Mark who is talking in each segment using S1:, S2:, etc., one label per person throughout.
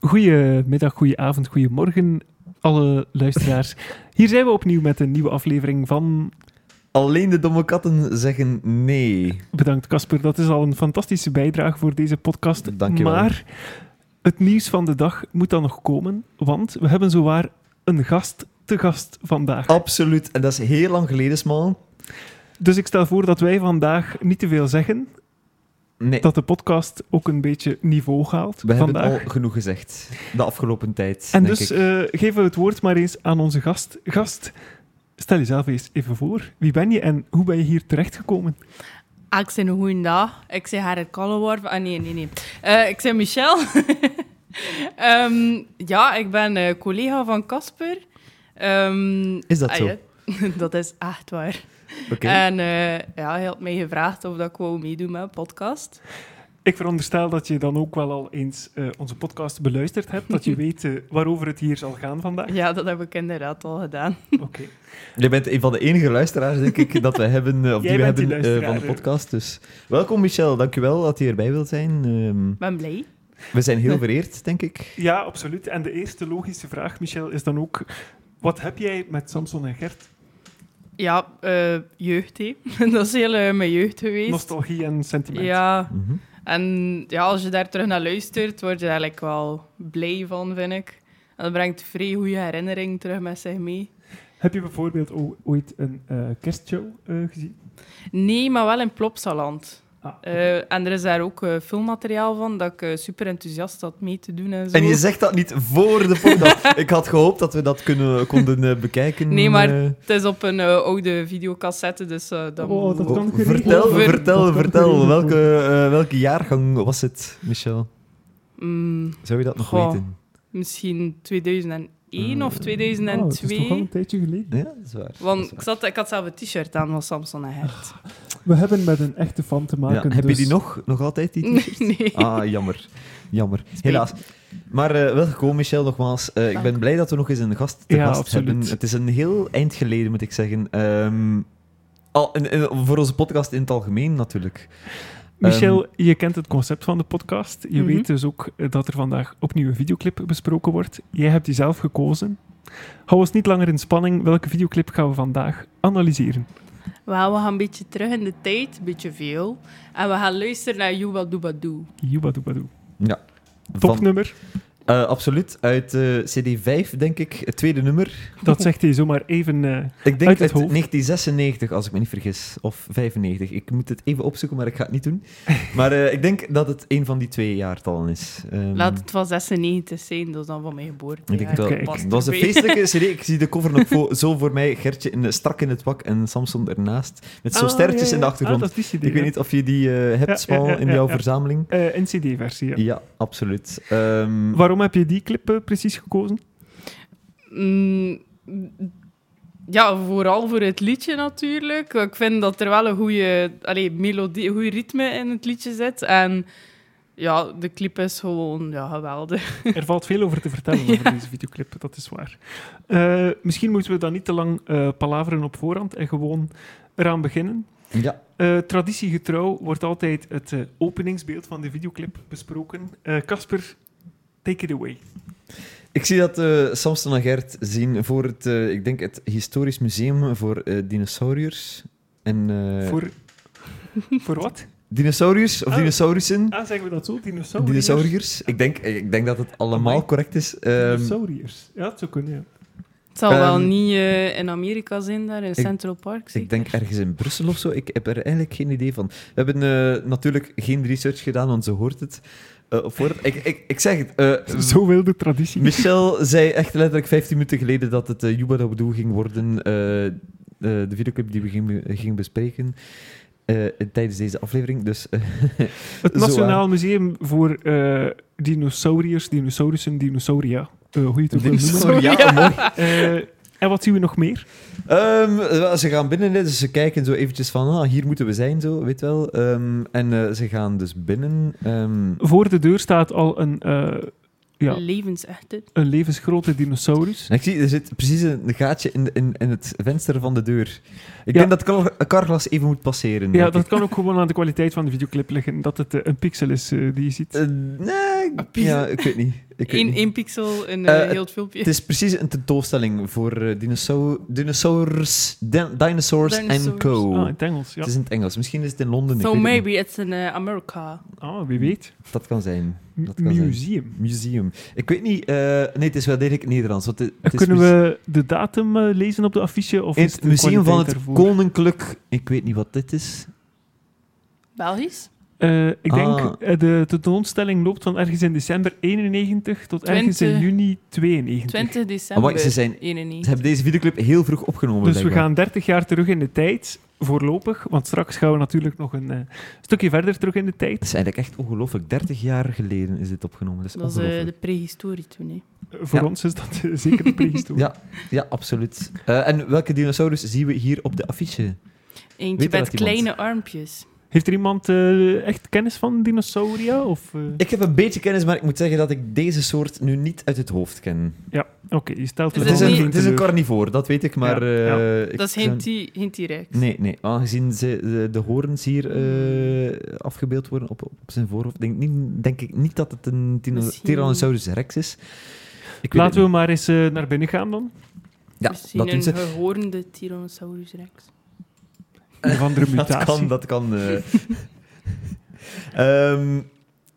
S1: Goedemiddag, goede avond, goedemorgen, alle luisteraars. Hier zijn we opnieuw met een nieuwe aflevering van.
S2: Alleen de domme katten zeggen nee.
S1: Bedankt, Casper. Dat is al een fantastische bijdrage voor deze podcast.
S2: Dank je wel.
S1: Maar het nieuws van de dag moet dan nog komen, want we hebben zowaar een gast te gast vandaag.
S2: Absoluut. En dat is heel lang geleden, man.
S1: Dus ik stel voor dat wij vandaag niet te veel zeggen,
S2: Nee,
S1: dat de podcast ook een beetje niveau haalt
S2: we hebben
S1: vandaag.
S2: al genoeg gezegd de afgelopen tijd.
S1: En
S2: denk
S1: dus
S2: ik.
S1: eh, geven we het woord maar eens aan onze gast. Gast, stel jezelf eens even voor. Wie ben je en hoe ben je hier terechtgekomen?
S3: Ah, ik ben een goeie dag. Ik ben Gerrit Kalleworf. Ah, nee, nee, nee. Eh, ik ben Michel. Ehm, ja, ik ben eh, collega van Casper. Ehm,
S2: Is dat
S3: ah,
S2: zo?
S3: ja. dat is echt waar.
S2: Oké.
S3: En eh, ja, hij had mij gevraagd of dat ik wou meedoen met een podcast.
S1: Ik veronderstel dat je dan ook wel al eens eh, onze podcast beluisterd hebt, dat je weet eh, waarover het hier zal gaan vandaag.
S3: Ja, dat heb ik inderdaad al gedaan.
S1: Oké.
S2: Jij bent een van de enige luisteraars, denk ik, dat we hebben, eh, of
S1: Jij
S2: die we
S1: bent die
S2: hebben eh, van de
S1: luisteraar,
S2: podcast. Dus welkom, Michel. Dankjewel dat je erbij wilt zijn. Ehm,
S3: Ik ben blij.
S2: we zijn heel vereerd, denk ik.
S1: Ja, absoluut. En de eerste logische vraag, Michel, is dan ook: wat heb jij met Samson en Gert?
S3: Ja, eh, jeugd, hè. dat is heel eh, mijn jeugd geweest.
S1: Nostalgie en sentiment.
S3: Ja,
S2: Mhm.
S3: En ja, als je daar terug naar luistert, word je er eigenlijk wel blij van, vind ik. En dat brengt vrij goede herinneringen terug met zich mee.
S1: Heb je bijvoorbeeld o- ooit een eh, kerstshow eh, gezien?
S3: Nee, maar wel in Plopsaland.
S1: Ah,
S3: Eh, en er is daar ook eh, filmmateriaal van dat ik eh, super enthousiast had mee te doen en zo.
S2: En je zegt dat niet voor de podcast. ik had gehoopt dat we dat kunnen, konden eh, bekijken.
S3: Nee, maar
S2: eh.
S3: Het is op een eh, oude videocassette, dus eh dat
S1: Oh, dat-
S3: moet-
S1: kan gereden
S2: vertel,
S3: worden.
S1: Dat
S2: vertel,
S1: kan
S2: vertel.
S1: gereden
S2: Welke, eh, welke jaargang was het, Michel?
S3: Mm,
S2: Zou je dat nog
S3: Goh.
S2: weten?
S3: misschien 2001 of
S1: Oh, het is
S3: 2002.
S1: toch al een tijdje geleden.
S2: Ja, dat is waar.
S3: Want ik, zat, ik had zelf een t-shirt aan van Samson en Hert.
S1: We hebben met een echte fan te maken.
S2: heb je
S1: dus-
S2: die nog? Nog altijd, die t-shirt?
S3: Nee.
S2: Ah, jammer. Jammer. Helaas. Maar eh, welkom, Michel, nogmaals. Eh, ik ben
S3: Dank.
S2: blij dat we nog eens een gast te
S1: Ja,
S2: gast
S1: absoluut.
S2: hebben. Het is een heel eind geleden, moet ik zeggen. Ehm, al, en- en voor onze podcast in het algemeen, natuurlijk.
S1: Michel,
S2: Ehm,
S1: je kent het concept van de podcast. Je
S3: Mhm.
S1: weet dus ook eh, dat er vandaag opnieuw een videoclip besproken wordt. Jij hebt die zelf gekozen. Hou ons niet langer in spanning. Welke videoclip gaan we vandaag analyseren?
S3: Wel, we gaan een beetje terug in de tijd, een beetje veel. En we gaan luisteren naar You What Do What Do.
S1: Joebadoebadoe.
S2: Ehm, Van-
S1: Topnummer.
S2: eh, absoluut. Uit eh, CD5, denk ik. Het tweede nummer.
S1: Dat zegt hij zomaar even. eh,
S2: Ik denk
S1: Uit
S2: uit,
S1: het hoofd.
S2: 1996, als ik me niet vergis. Of 95. Ik moet het even opzoeken, maar ik ga het niet doen. Maar eh, ik denk dat het een van die twee jaartallen is. Ehm,
S3: Laat het van 96 zijn, dat is dan van mijn geboorte.
S2: ik denk dat,
S1: Kijk.
S2: dat was een feestelijke CD. Ik zie de cover nog vo- zo voor mij. Gertje in, strak in het wak en Samson ernaast. Met zo'n
S1: ah,
S2: sterretjes
S1: ja, ja.
S2: in de
S1: Ah,
S2: achtergrond.
S1: dat is die
S2: ik weet
S1: hè?
S2: niet of je die eh,
S1: Ja,
S2: hebt, Smal,
S1: ja, ja,
S2: in
S1: ja,
S2: jouw
S1: ja.
S2: verzameling.
S1: Eh, NCD-versie, ja.
S2: Ja, absoluut. Ehm,
S1: Waarom heb je die clip eh, precies gekozen?
S3: Mm, ja, vooral voor het liedje natuurlijk. Ik vind dat er wel een goede allee, melodie, een goede ritme in het liedje zit. En ja, de clip is gewoon ja, geweldig.
S1: Er valt veel over te vertellen over deze videoclip, dat is waar. Eh, misschien moeten we dan niet te lang eh, palaveren op voorhand en gewoon eraan beginnen.
S2: ja,
S1: Eh, traditiegetrouw wordt altijd het eh, openingsbeeld van de videoclip besproken. Eh, Casper, take it away.
S2: Ik zie dat eh Samson en Gert zien voor het, eh, ik denk het Historisch Museum voor eh, Dinosauriërs. En, eh,
S1: Voor, voor wat?
S2: Dinosauriërs of
S1: Ah.
S2: dinosaurussen?
S1: Ah, zeggen we dat zo? Dinosauriërs?
S2: Dinosauriërs. Ik denk, ik denk dat het allemaal
S1: Amai.
S2: correct is. Ehm,
S1: Dinosauriërs. Ja, het zou kunnen, ja.
S3: Het zal wel
S2: Ehm,
S3: niet eh, in Amerika zijn, daar in Central Park.
S2: dus ik
S3: zeker?
S2: denk ergens in Brussel of zo. Ik heb er eigenlijk geen idee van. We hebben eh, natuurlijk geen research gedaan, want zo hoort het. eh, op voorhand. ik, ik, ik zeg het. eh,
S1: Zo wilde traditie.
S2: Michel zei echt letterlijk 15 minuten geleden dat het uh, Yuba Dabadoo ging worden. eh, eh, de videoclip die we gingen gingen bespreken eh, tijdens deze aflevering. Dus eh,
S1: Het
S2: Zo
S1: Nationaal Museum voor eh, Dinosauriërs, Dinosaurussen, Dinosauria. Eh, hoe je het ook wil noemen.
S2: Sorry, ja, mooi.
S1: Eh, en wat zien we nog meer?
S2: Ehm, eh, ze gaan binnen, hè, dus ze kijken zo eventjes van, ah, hier moeten we zijn, zo, weet wel. Ehm, en eh, ze gaan dus binnen. ehm,
S1: Voor de deur staat al een, eh, ja,
S3: Levensechte.
S1: een levensgrote dinosaurus.
S2: en ik zie, er zit precies een gaatje in, in, in het venster van de deur. Ik
S1: Ja.
S2: denk dat kar- karglas even moet passeren.
S1: Ja,
S2: denk ik.
S1: dat kan ook gewoon aan de kwaliteit van de videoclip liggen, dat het eh, een pixel is eh, die je ziet.
S2: Eh, nee, Ja, ik weet niet. Ik weet
S3: Eén
S2: niet.
S3: één pixel in
S2: Eh,
S3: eh, heel het filmpje.
S2: Het is precies een tentoonstelling voor eh, dinosau- dinosaurs, din- dinosaurs, and
S3: Dinosaurs.
S2: Co.
S1: Ah, in het Engels, ja.
S2: Het is in het Engels. Misschien is het in Londen. ik
S3: So
S2: weet het
S3: maybe it's in eh, America.
S1: Ah, wie weet.
S2: niet. Dat kan zijn.
S1: M-
S2: Dat kan zijn.
S1: Museum.
S2: Museum. Ik weet niet. eh, nee, het is wel degelijk Nederlands. Want het, het is
S1: Kunnen
S2: muse-
S1: we de datum eh, lezen op de affiche? Of
S2: in
S1: is
S2: het
S1: de
S2: museum van
S1: kwaliteit
S2: het
S1: daarvoor?
S2: Koninklijk. Ik weet niet wat dit is.
S3: Belgisch?
S1: Eh, ik denk,
S2: Ah.
S1: eh, de tentoonstelling loopt van ergens in december 91 tot ergens in
S3: 20.
S1: juni 92.
S3: 20
S2: Ah,
S3: december.
S2: maar ze zijn-
S3: 91.
S2: Ze hebben deze videoclip heel vroeg opgenomen.
S1: Dus we
S2: blijkbaar.
S1: gaan 30 jaar terug in de tijd, voorlopig. Want straks gaan we natuurlijk nog een eh, stukje verder terug in de tijd.
S2: Het is eigenlijk echt ongelooflijk. 30 jaar geleden is dit opgenomen. Dat is
S3: Dat is eh,
S2: ongelooflijk.
S3: de prehistorie toen. hè.
S1: Eh, voor
S2: Ja.
S1: ons is dat eh, zeker de prehistorie.
S2: Ja, ja, absoluut. Eh, en welke dinosaurus zien we hier op de affiche?
S3: Eentje
S2: Weet er
S3: met
S2: dat iemand?
S3: kleine armpjes.
S1: Heeft er iemand eh, echt kennis van dinosauria? Of, eh?
S2: Ik heb een beetje kennis, maar ik moet zeggen dat ik deze soort nu niet uit het hoofd ken.
S1: Ja, oké. je stelt
S3: Is
S1: me
S2: Het is,
S1: dan
S3: niet-
S2: een,
S1: geen
S2: het is een
S1: teleur.
S2: carnivoor, dat weet ik, maar...
S1: Ja,
S2: eh,
S1: ja.
S2: ik
S3: Dat is
S2: zou-
S3: geen, ti- geen T-Rex.
S2: Nee, nee. Aangezien ze, de, de horens hier eh, afgebeeld worden op, op zijn voorhoofd, denk, ik niet, denk ik niet dat het een dino-
S3: Misschien-
S2: Tyrannosaurus rex is. Ik weet het
S1: Laten we
S2: niet.
S1: maar eens eh, naar binnen gaan dan.
S2: Ja,
S3: Misschien
S2: dat doen
S3: Dus een
S2: ze.
S3: gehorende Tyrannosaurus Rex.
S1: Een of andere mutatie.
S2: Dat kan, dat kan. eh. Ehm,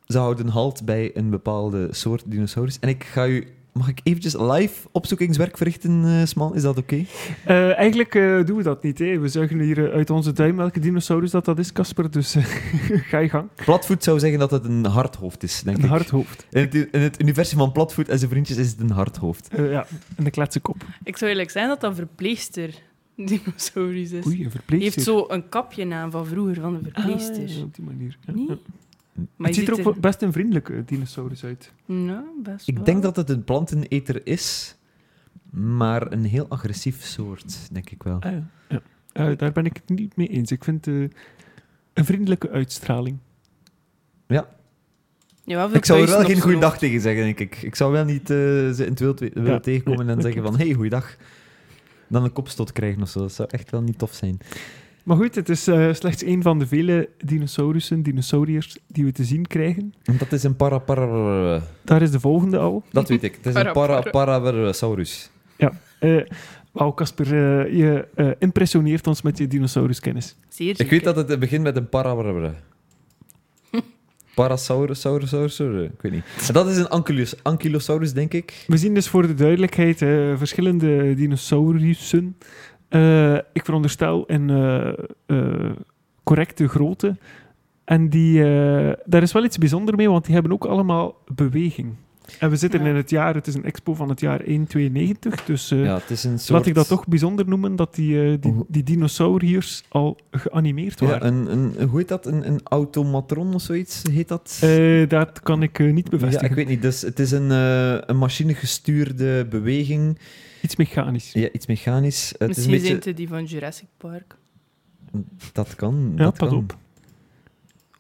S2: ze houden halt bij een bepaalde soort dinosaurus. En ik ga u... Mag ik eventjes live opzoekingswerk verrichten, eh, Smal? Is dat oké?
S1: Eh, eigenlijk eh, doen we dat niet. Hè. We zuigen hier eh, uit onze duim welke dinosaurus dat, dat is, Casper. Dus eh, ga je gang.
S2: Platvoet zou zeggen dat het een hardhoofd is, denk
S1: Een
S2: ik.
S1: hard hoofd.
S2: In, het, in het universum van Platvoet en zijn vriendjes is het een hardhoofd.
S1: Eh, ja, en een kletsen kop.
S3: Ik zou eerlijk zijn dat dat een verpleegster dinosaurus is.
S1: Oei, een
S3: Die
S1: verpleegster.
S3: Dus heeft zo een kapje aan van vroeger, van de verpleegster.
S1: Ah, ja, op die manier. Ja,
S3: Nee?
S1: ja.
S3: Maar
S1: het
S3: je
S1: ziet er
S3: ziet
S1: ook wel best een vriendelijke dinosaurus uit.
S3: Nou, best wel.
S2: Ik denk dat het een planteneter is, maar een heel agressief soort, denk ik
S3: Ah,
S2: wel.
S1: ja. Eh, daar ben ik het niet mee eens. Ik vind eh, een vriendelijke uitstraling.
S3: Jawel, veel
S2: Ik zou er wel
S3: puisten
S2: geen
S3: op zijn
S2: goeiedag tegen zeggen, denk ik. Ik zou wel niet eh, ze in het wild we- willen
S1: Ja,
S2: tegenkomen
S1: nee,
S2: en dan
S1: dat
S2: zeggen van,
S1: klopt.
S2: hey, goeiedag. Dan een kopstoot krijgen of zo. Dat zou echt wel niet tof zijn.
S1: Maar goed, het is eh, slechts een van de vele dinosaurussen, dinosauriërs, die we te zien krijgen.
S2: Want dat is een para para...
S1: Daar is de volgende al.
S2: Dat weet ik. Het is een para
S3: Para-
S2: para
S1: Eh Wauw, Casper, eh, je eh, impressioneert ons met je dinosauruskennis.
S3: hoofd. Zeer
S2: Ik weet
S3: zeker.
S2: dat het begint met een para Parasaurus, saurus, saurus, saurus, ik weet niet. En dat is een ankylos, ankylosaurus, denk ik.
S1: We zien dus voor de duidelijkheid eh, verschillende dinosaurussen. Eh, ik veronderstel in eh, eh, correcte grootte. En die, eh, daar is wel iets bijzonder mee, want die hebben ook allemaal beweging. En we zitten
S3: Ja.
S1: in het jaar, het is een expo van het jaar 192, dus eh,
S2: Ja, het is een soort... Oh.
S1: laat ik dat toch bijzonder noemen, dat die, eh, die, die dinosauriërs al geanimeerd
S2: Ja,
S1: waren.
S2: een, een, hoe heet dat? Een, een automatron of zoiets heet dat?
S1: Eh, dat kan ik eh, niet
S2: ja,
S1: bevestigen.
S2: ik weet niet. Dus het is een, eh een machinegestuurde beweging.
S1: Iets mechanisch.
S2: Ja, iets mechanisch. Het
S3: Misschien
S2: is een
S3: zijn
S2: beetje...
S3: het die van Jurassic Park.
S2: Dat kan.
S1: Ja,
S2: dat
S1: pas
S2: kan.
S1: op.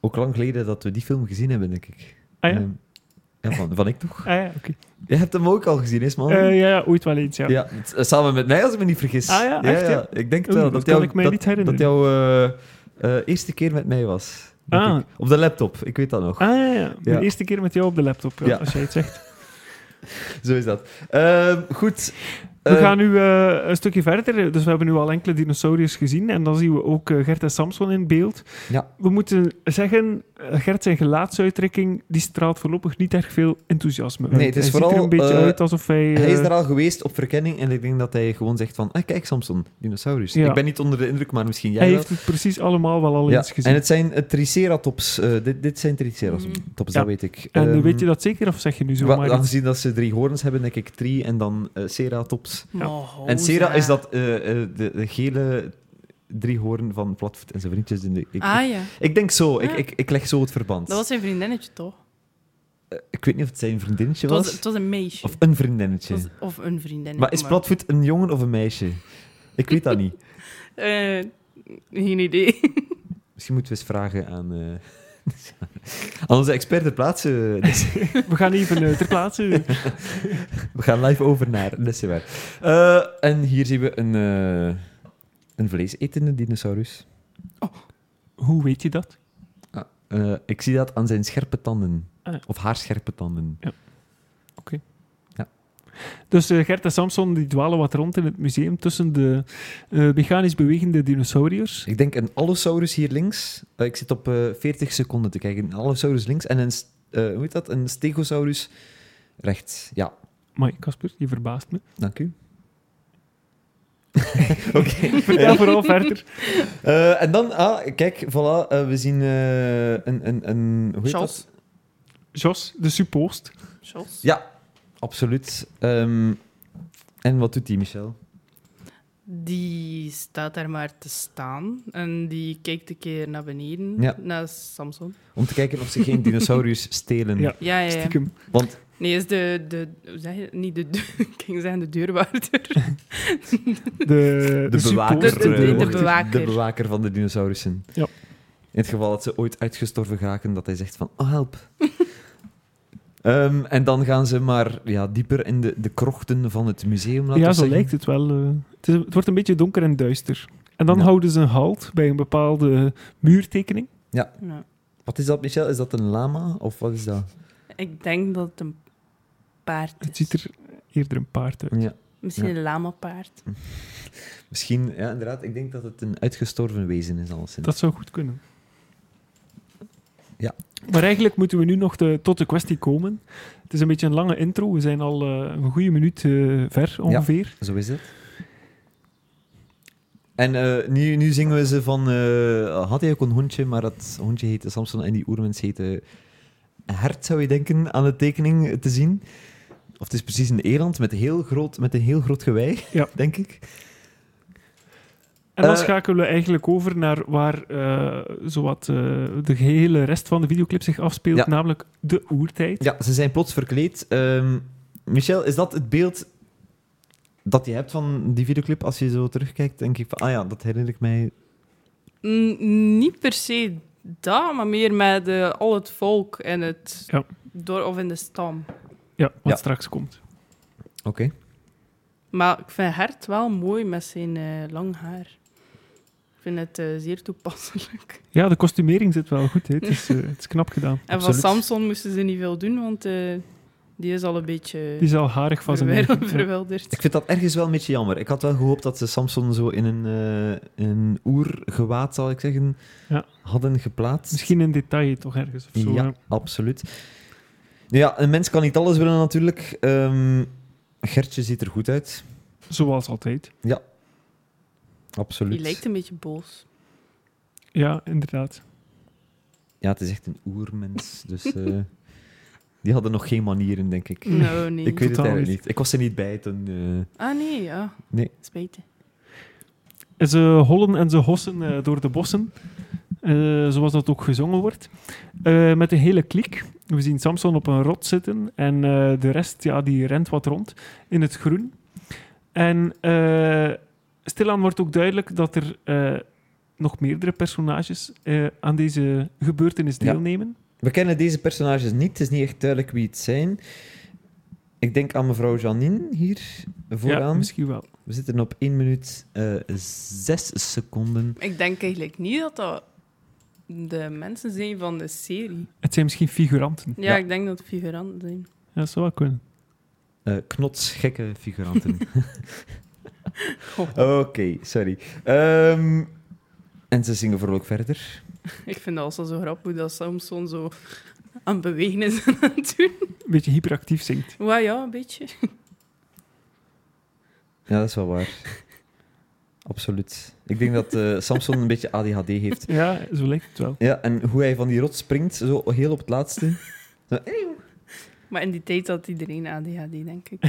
S2: Ook lang geleden dat we die film gezien hebben, denk ik.
S1: Ah ja,
S2: Eh, ja, van, van ik toch?
S1: ah, ja oké.
S2: Jij hebt hem ook al gezien, is man?
S1: Eh, ja, ja, ooit wel eens, ja.
S2: Oh. Ja, het- eh, samen met mij, als ik me niet vergis.
S1: Ah ja, echt, ja?
S2: Ik denk het
S1: Oeh,
S2: wel.
S1: dat
S2: dat jou-
S1: kan ik mij
S2: dat-
S1: niet herinneren.
S2: Dat jouw eh, eh, eerste keer met mij was. denk
S1: Ah.
S2: ik. Op de laptop, ik weet dat nog.
S1: Ah ja, ja. de
S2: Ja.
S1: eerste keer met jou op de laptop, ja,
S2: Ja.
S1: als jij het zegt.
S2: Zo is dat. Ehm, goed.
S1: We
S2: Ehm,
S1: gaan nu eh, een stukje verder, dus we hebben nu al enkele dinosauriërs gezien en dan zien we ook eh, Gert en Samson in beeld.
S2: Ja.
S1: We moeten zeggen, eh, Gert zijn gelaatsuitdrukking, die straalt voorlopig niet erg veel enthousiasme uit.
S2: Nee, het is
S1: hij ziet er
S2: vooral,
S1: een beetje
S2: eh,
S1: uit alsof hij...
S2: Hij is
S1: eh,
S2: daar al geweest op verkenning en ik denk dat hij gewoon zegt van, ah, kijk Samson, dinosaurus.
S1: Ja.
S2: Ik ben niet onder de indruk, maar misschien jij
S1: hij
S2: wel.
S1: heeft het precies allemaal wel al
S2: Ja,
S1: eens gezien.
S2: En het zijn eh, triceratops. eh, dit, dit zijn triceratops,
S3: Mm.
S2: tops,
S1: Ja.
S2: dat weet ik.
S1: En, eh,
S2: Ehm,
S1: weet je dat zeker, of zeg je nu
S2: wel,
S1: zomaar iets?
S2: Aangezien dat ze drie hoorns hebben, denk ik drie en dan eh, ceratops.
S1: Ja.
S3: Oh,
S2: En Sera
S3: hoza.
S2: is dat eh, eh, de, de gele driehoorn van Platvoet en zijn vriendjes. In de, ik,
S3: Ah ja,
S2: ik denk zo,
S3: Ja.
S2: ik, ik, ik leg zo het verband.
S3: dat was zijn vriendinnetje toch?
S2: Eh, ik weet niet of het zijn vriendinnetje
S3: Het
S2: was,
S3: was, het was een meisje.
S2: of een vriendinnetje.
S3: Het was- of een vriendinnetje.
S2: maar is Platvoet een jongen of een meisje? Ik weet dat niet.
S3: Eh, geen idee.
S2: Misschien moeten we eens vragen aan, eh, aan onze expert ter plaatse. Dus
S1: We gaan even eh, ter plaatse...
S2: we gaan live over naar Nessewer. Eh en hier zien we een, eh, een vleesetende dinosaurus.
S1: Hoe weet je dat?
S2: Eh, ik zie dat aan zijn scherpe tanden.
S1: Ah.
S2: Of haar scherpe tanden.
S1: Dus eh, Gert en Samson die dwalen wat rond in het museum tussen de eh, mechanisch bewegende dinosauriërs.
S2: Ik denk een Allosaurus hier links. Eh, ik zit op eh 40 seconden te kijken. Een Allosaurus links en een, st- eh, hoe heet dat? een Stegosaurus rechts. Ja,
S1: Maar Casper, je verbaast me.
S2: dank u. Oké.
S1: Vertel vooral verder.
S2: Eh, en dan, ah, kijk, voilà, eh, we zien eh, een, een, een... Hoe heet dat?
S3: Charles.
S1: Jos, de suppost.
S3: Charles.
S2: Ja, absoluut. Ehm, en wat doet die, Michel?
S3: Die staat daar maar te staan en die kijkt een keer naar beneden,
S2: Ja.
S3: naar Samson.
S2: Om te kijken of ze geen dinosaurus stelen.
S1: Ja.
S3: Ja, ja, ja.
S1: Stiekem. Eh,
S2: Want
S3: Nee, is de, de, hoe zeg je, het? niet de, ik ging zeggen de deurwaarder.
S1: De, de,
S2: de, bewaker,
S1: suppost,
S3: De- de- de-
S2: eh, wordt-
S3: de bewaker.
S2: de bewaker van de dinosaurussen.
S1: Ja.
S2: In het geval dat ze ooit uitgestorven raken, dat hij zegt van, oh help. Ehm, en dan gaan ze maar ja, dieper in de, de krochten van het museum, laten
S1: Ja,
S2: we
S1: zo
S2: zeggen.
S1: lijkt het wel. eh. het, is- het wordt een beetje donker en duister. En dan
S2: Ja.
S1: houden ze een halt bij een bepaalde muurtekening.
S3: Ja.
S2: Wat is dat, Michel? Is dat een lama? Of wat is dat?
S3: Ik denk dat het een paard is.
S1: Het ziet er eerder een paard uit.
S2: Ja.
S3: Misschien
S2: Ja.
S3: een lamapaard.
S2: Misschien, ja, inderdaad. Ik denk dat het een uitgestorven wezen is, alleszins.
S1: Dat zou goed kunnen.
S2: Ja.
S1: Maar eigenlijk moeten we nu nog de, tot de kwestie komen. Het is een beetje een lange intro. We zijn al eh, een goede minuut eh, ver ongeveer.
S2: Zo is het. En eh, nu, nu zingen we ze van... eh, had hij ook een hondje, maar dat hondje heette Samson en die oermens heette Hert, zou je denken, aan de tekening te zien. Of het is precies een eland met, heel groot, met een heel groot gewei,
S1: Ja.
S2: denk ik.
S1: En dan
S2: Eh,
S1: schakelen we eigenlijk over naar waar eh, zowat eh, de gehele rest van de videoclip zich afspeelt,
S2: Ja.
S1: namelijk de oertijd.
S2: Ja, ze zijn plots verkleed. Ehm, Michel, is dat het beeld dat je hebt van die videoclip? Als je zo terugkijkt, denk ik van... Ah ja, dat herinner ik mij.
S3: Mm, niet per se dat, maar meer met eh, al het volk en het
S1: Ja.
S3: dorp of in de stam.
S1: Ja, wat
S2: Ja.
S1: straks komt.
S2: Oké.
S3: Maar ik vind Hert wel mooi met zijn eh, lang haar. Ik vind het eh, zeer toepasselijk.
S1: Ja, de kostumering zit wel goed. Hè. Het, is, eh, het is knap gedaan.
S3: En van
S2: Absoluut.
S3: Samson moesten ze niet veel doen, want eh, die is al een beetje
S1: Die is al harig van zijn
S3: verwer-
S1: eigen-
S3: verwilderd.
S2: Ik vind dat ergens wel een beetje jammer. Ik had wel gehoopt dat ze Samson zo in een, eh, een oergewaad, zal ik zeggen,
S1: Ja.
S2: hadden geplaatst.
S1: Misschien in detail toch ergens of zo.
S2: ja,
S1: hè.
S2: absoluut. Nou ja, een mens kan niet alles willen natuurlijk. Ehm, Gertje ziet er goed uit.
S1: Zoals altijd.
S2: Absoluut.
S3: Die lijkt een beetje boos.
S1: Ja, inderdaad.
S2: Ja, het is echt een oermens. Dus eh, die hadden nog geen manieren, denk ik.
S3: Nou, nee.
S2: Ik weet het
S1: Totaal
S2: eigenlijk
S1: niet.
S2: niet. Ik was er niet bij toen. eh,
S3: Ah, nee, ja.
S2: Nee.
S3: Spijtig.
S1: En ze hollen en ze hossen eh, door de bossen, eh, zoals dat ook gezongen wordt, Eh, met een hele kliek. We zien Samson op een rot zitten en eh, de rest ja, die rent wat rond in het groen. En eh, stilaan wordt ook duidelijk dat er eh, nog meerdere personages eh, aan deze gebeurtenis
S2: Ja.
S1: deelnemen.
S2: We kennen deze personages niet. Het is niet echt duidelijk wie het zijn. Ik denk aan mevrouw Janine hier
S1: ja
S2: vooraan.
S1: misschien wel.
S2: We zitten op 1 minuut eh 6 seconden.
S3: Ik denk eigenlijk niet dat dat de mensen zijn van de serie.
S1: Het zijn misschien figuranten.
S3: Ja,
S2: Ja.
S3: ik denk dat het figuranten zijn.
S1: Ja, dat zou wel kunnen.
S2: Eh knotsgekke figuranten.
S3: Oh,
S2: Oké, sorry. Ehm, en ze zingen vrolijk verder.
S3: ik vind dat al zo grappig dat Samson zo aan het bewegen is en aan het doen.
S1: Een beetje hyperactief zingt.
S3: Wa ja, een beetje.
S2: Ja, dat is wel waar. Absoluut. Ik denk dat eh, Samson een beetje ADHD heeft.
S1: Ja, zo lijkt het wel.
S2: Ja, en hoe hij van die rot springt, zo heel op het laatste. Zo, eh.
S3: Maar in die tijd had iedereen ADHD, denk ik.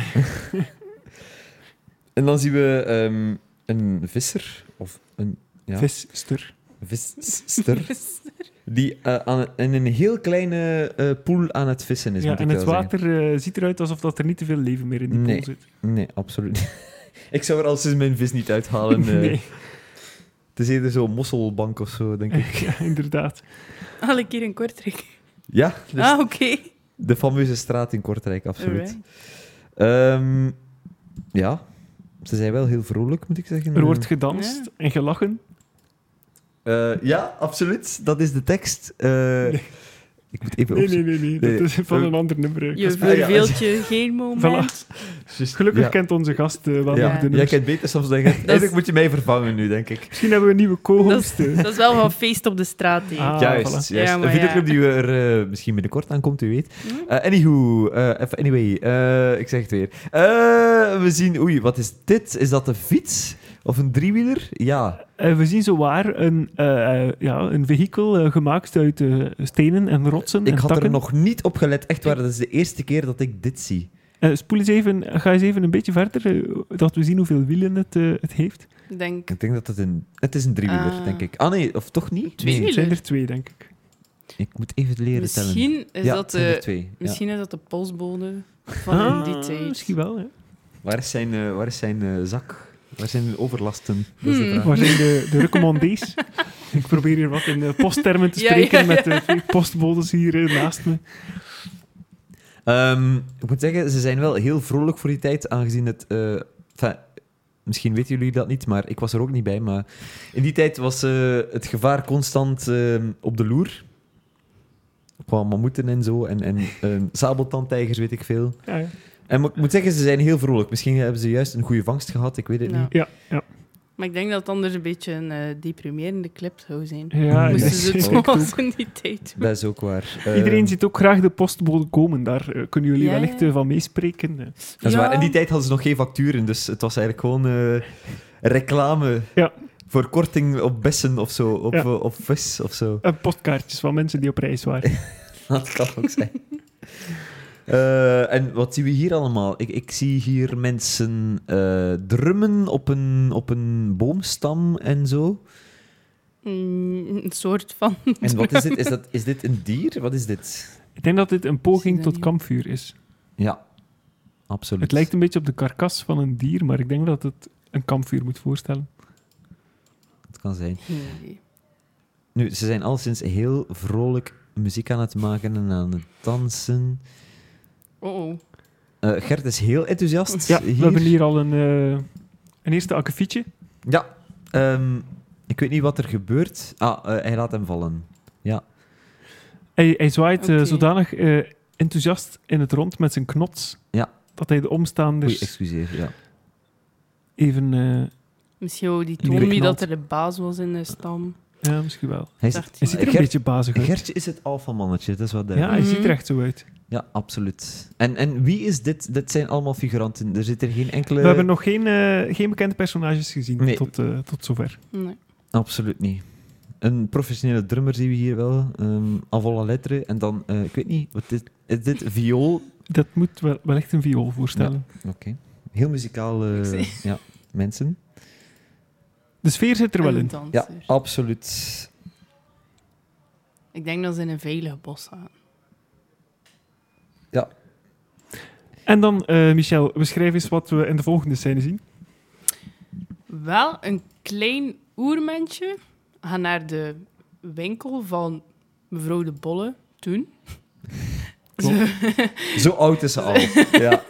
S2: En dan zien we ehm, een visser, of een Ja.
S1: Visster.
S2: visster,
S3: Dus,
S2: die eh, aan, in een heel kleine eh, poel aan het vissen is.
S1: Ja,
S2: moet ik
S1: en het
S2: wel zeggen.
S1: water eh, ziet eruit alsof dat er niet te veel leven meer in die
S2: Nee.
S1: pool zit.
S2: Nee, absoluut. ik zou er al sinds mijn vis niet uithalen. eh.
S1: nee,
S2: Het is eerder zo'n mosselbank of zo, denk ik. Hmm.
S1: ja, inderdaad.
S3: Al een keer in Kortrijk.
S2: Ja, dus
S3: Ah, oké.
S2: de fameuze straat in Kortrijk, absoluut.
S3: Alright.
S2: Ehm, ja, ze zijn wel heel vrolijk, moet ik zeggen.
S1: Er wordt
S2: Eh,
S1: gedanst en gelachen.
S2: Eh, ja, absoluut. Dat is de tekst. Eh, Ik moet even
S1: Nee,
S2: opzoeken.
S1: nee, nee, nee.
S2: Nee.
S1: Dat is van een ander nummer. Ik
S3: Je
S1: was-
S3: verveelt je geen moment.
S1: Voilà. Gelukkig
S2: Ja.
S1: kent onze gast eh, wel
S2: Ja.
S1: nog de
S2: Jij
S1: nummers.
S2: kent beter soms dan jij. Eigenlijk moet je mij vervangen nu, denk ik.
S1: Misschien hebben we een nieuwe
S3: Dat
S1: co-host.
S3: is, dat is wel van feest op de straat. hè.
S1: Ah, voilà.
S2: juist, juist.
S3: Ja,
S2: een
S3: maar
S2: videoclip
S3: ja.
S2: die er eh, misschien binnenkort aankomt, u weet.
S3: Hm?
S2: Eh, anywho, eh, even anyway, eh, ik zeg het weer. Eh, we zien, oei, wat is dit? Is dat een fiets? Of een driewieler? Ja.
S1: Eh, we zien zowaar een, eh, eh, ja, een vehikel eh, gemaakt uit eh, stenen en rotsen
S2: Ik
S1: en
S2: had
S1: takken.
S2: er nog niet op gelet. Echt waar, dat is de eerste keer dat ik dit zie.
S1: Eh, spoel eens even, ga eens even een beetje verder, eh, dat we zien hoeveel wielen het, eh, het heeft.
S3: Ik denk.
S2: Ik denk dat het een... Het is een driewieler,
S3: Ah.
S2: denk ik. Ah nee, of toch niet?
S3: Twee.
S2: Nee,
S1: Het zijn er twee, denk ik.
S2: ik moet even leren tellen.
S3: Misschien is,
S2: ja,
S3: dat
S2: het zijn er
S3: de,
S2: twee. ja.
S3: misschien is dat de postbode van in die
S1: Ah,
S3: tijd.
S1: Misschien wel, ja.
S2: Waar is zijn, eh, waar is zijn eh, zak? Waar zijn hun overlasten? Dat is de
S3: Hmm.
S2: vraag.
S1: Waar zijn de, de recommandees? ik probeer hier wat in eh, posttermen te
S3: Ja,
S1: spreken
S3: ja, ja.
S1: met de twee postbodes hier eh, naast me.
S2: Ehm, ik moet zeggen, ze zijn wel heel vrolijk voor die tijd, aangezien het... eh, enfin, misschien weten jullie dat niet, maar ik was er ook niet bij. Maar in die tijd was eh, het gevaar constant ehm, op de loer. Qua mammoeten en zo, en, en ehm, sabeltandtijgers, weet ik veel.
S1: Ja, ja.
S2: En mo- ik moet zeggen, ze zijn heel vrolijk. Misschien hebben ze juist een goede vangst gehad, ik weet het
S3: Ja.
S2: niet.
S1: ja, ja.
S3: Maar ik denk dat het anders een beetje een eh, deprimerende clip zou zijn.
S1: ja
S3: Moesten
S1: dat
S3: ze het
S1: is- eh,
S3: zoals in die tijd doen.
S2: Dat is ook waar.
S1: Iedereen
S2: Ehm,
S1: ziet ook graag de postbode komen, daar eh, kunnen jullie
S3: Ja, ja.
S1: wellicht eh, van meespreken. eh.
S2: Dat is
S3: Ja.
S2: waar. In die tijd hadden ze nog geen facturen, dus het was eigenlijk gewoon eh, reclame
S1: Ja.
S2: voor korting op bessen of zo, op,
S1: Ja.
S2: eh, op vis of zo.
S1: En Eh, postkaartjes van mensen die op reis waren.
S2: Dat kan ook zijn. Eh, en wat zien we hier allemaal? Ik, ik zie hier mensen eh, drummen op een, op een boomstam en zo.
S3: Mm, een soort van.
S2: En wat is dit? Is, dat, is dit een dier? Wat is dit?
S1: Ik denk dat dit een
S3: Zie
S1: poging
S3: dat
S1: tot
S3: niet.
S1: kampvuur is.
S2: Ja, absoluut.
S1: Het lijkt een beetje op de karkas van een dier, maar ik denk dat het een kampvuur moet voorstellen.
S2: Het kan zijn.
S3: Geen idee.
S2: Nu, ze zijn alleszins heel vrolijk muziek aan het maken en aan het dansen.
S3: Oh, oh.
S2: Eh, Gert is heel enthousiast.
S1: Ja, we hebben hier al een, eh, een eerste akkefietje.
S2: Ja. ehm, ik weet niet wat er gebeurt. Ah, eh, hij laat hem vallen.
S1: Hij, hij zwaait eh,
S3: Oké.
S1: zodanig eh, enthousiast in het rond met zijn knots
S2: Ja.
S1: dat hij de
S2: Oei,
S1: omstaanders
S2: excuseer. Ja.
S1: even... eh,
S3: Misschien wou die
S1: Die
S3: Tommy
S1: knalt.
S3: dat er de baas was in de stam.
S1: ja, misschien wel.
S2: Hij
S3: Dacht
S1: Hij
S3: hij.
S1: ziet er een
S2: Gert-
S1: beetje bazig uit.
S2: Gertje is het alfamannetje, dat is wat
S1: Ja,
S2: duidelijk.
S1: hij
S2: Ja,
S3: Mhm.
S1: ziet er echt zo uit.
S2: absoluut. En, en wie is dit? Dit zijn allemaal figuranten. Er zit er geen enkele...
S1: We hebben nog geen, eh, geen bekende personages gezien
S2: Nee.
S1: tot, eh, tot zover.
S3: Nee.
S2: Absoluut niet. Een professionele drummer zien we hier wel. ehm avant la lettre. En dan, eh, ik weet niet, wat is, is dit viool?
S1: Dat moet wel, wel echt een viool voorstellen.
S2: Heel muzikaal, eh,
S3: Ik zie.
S2: ja, mensen.
S1: De sfeer zit er wel
S3: Een
S1: in.
S2: Ja,
S3: danser.
S2: absoluut.
S3: Ik denk dat ze in een veilige bos gaan.
S1: En dan, eh, Michel, beschrijf eens wat we in de volgende scène zien.
S3: Wel een klein oermensje gaat naar de winkel van mevrouw de Bolle toen.
S2: Zo oud is ze al. ja.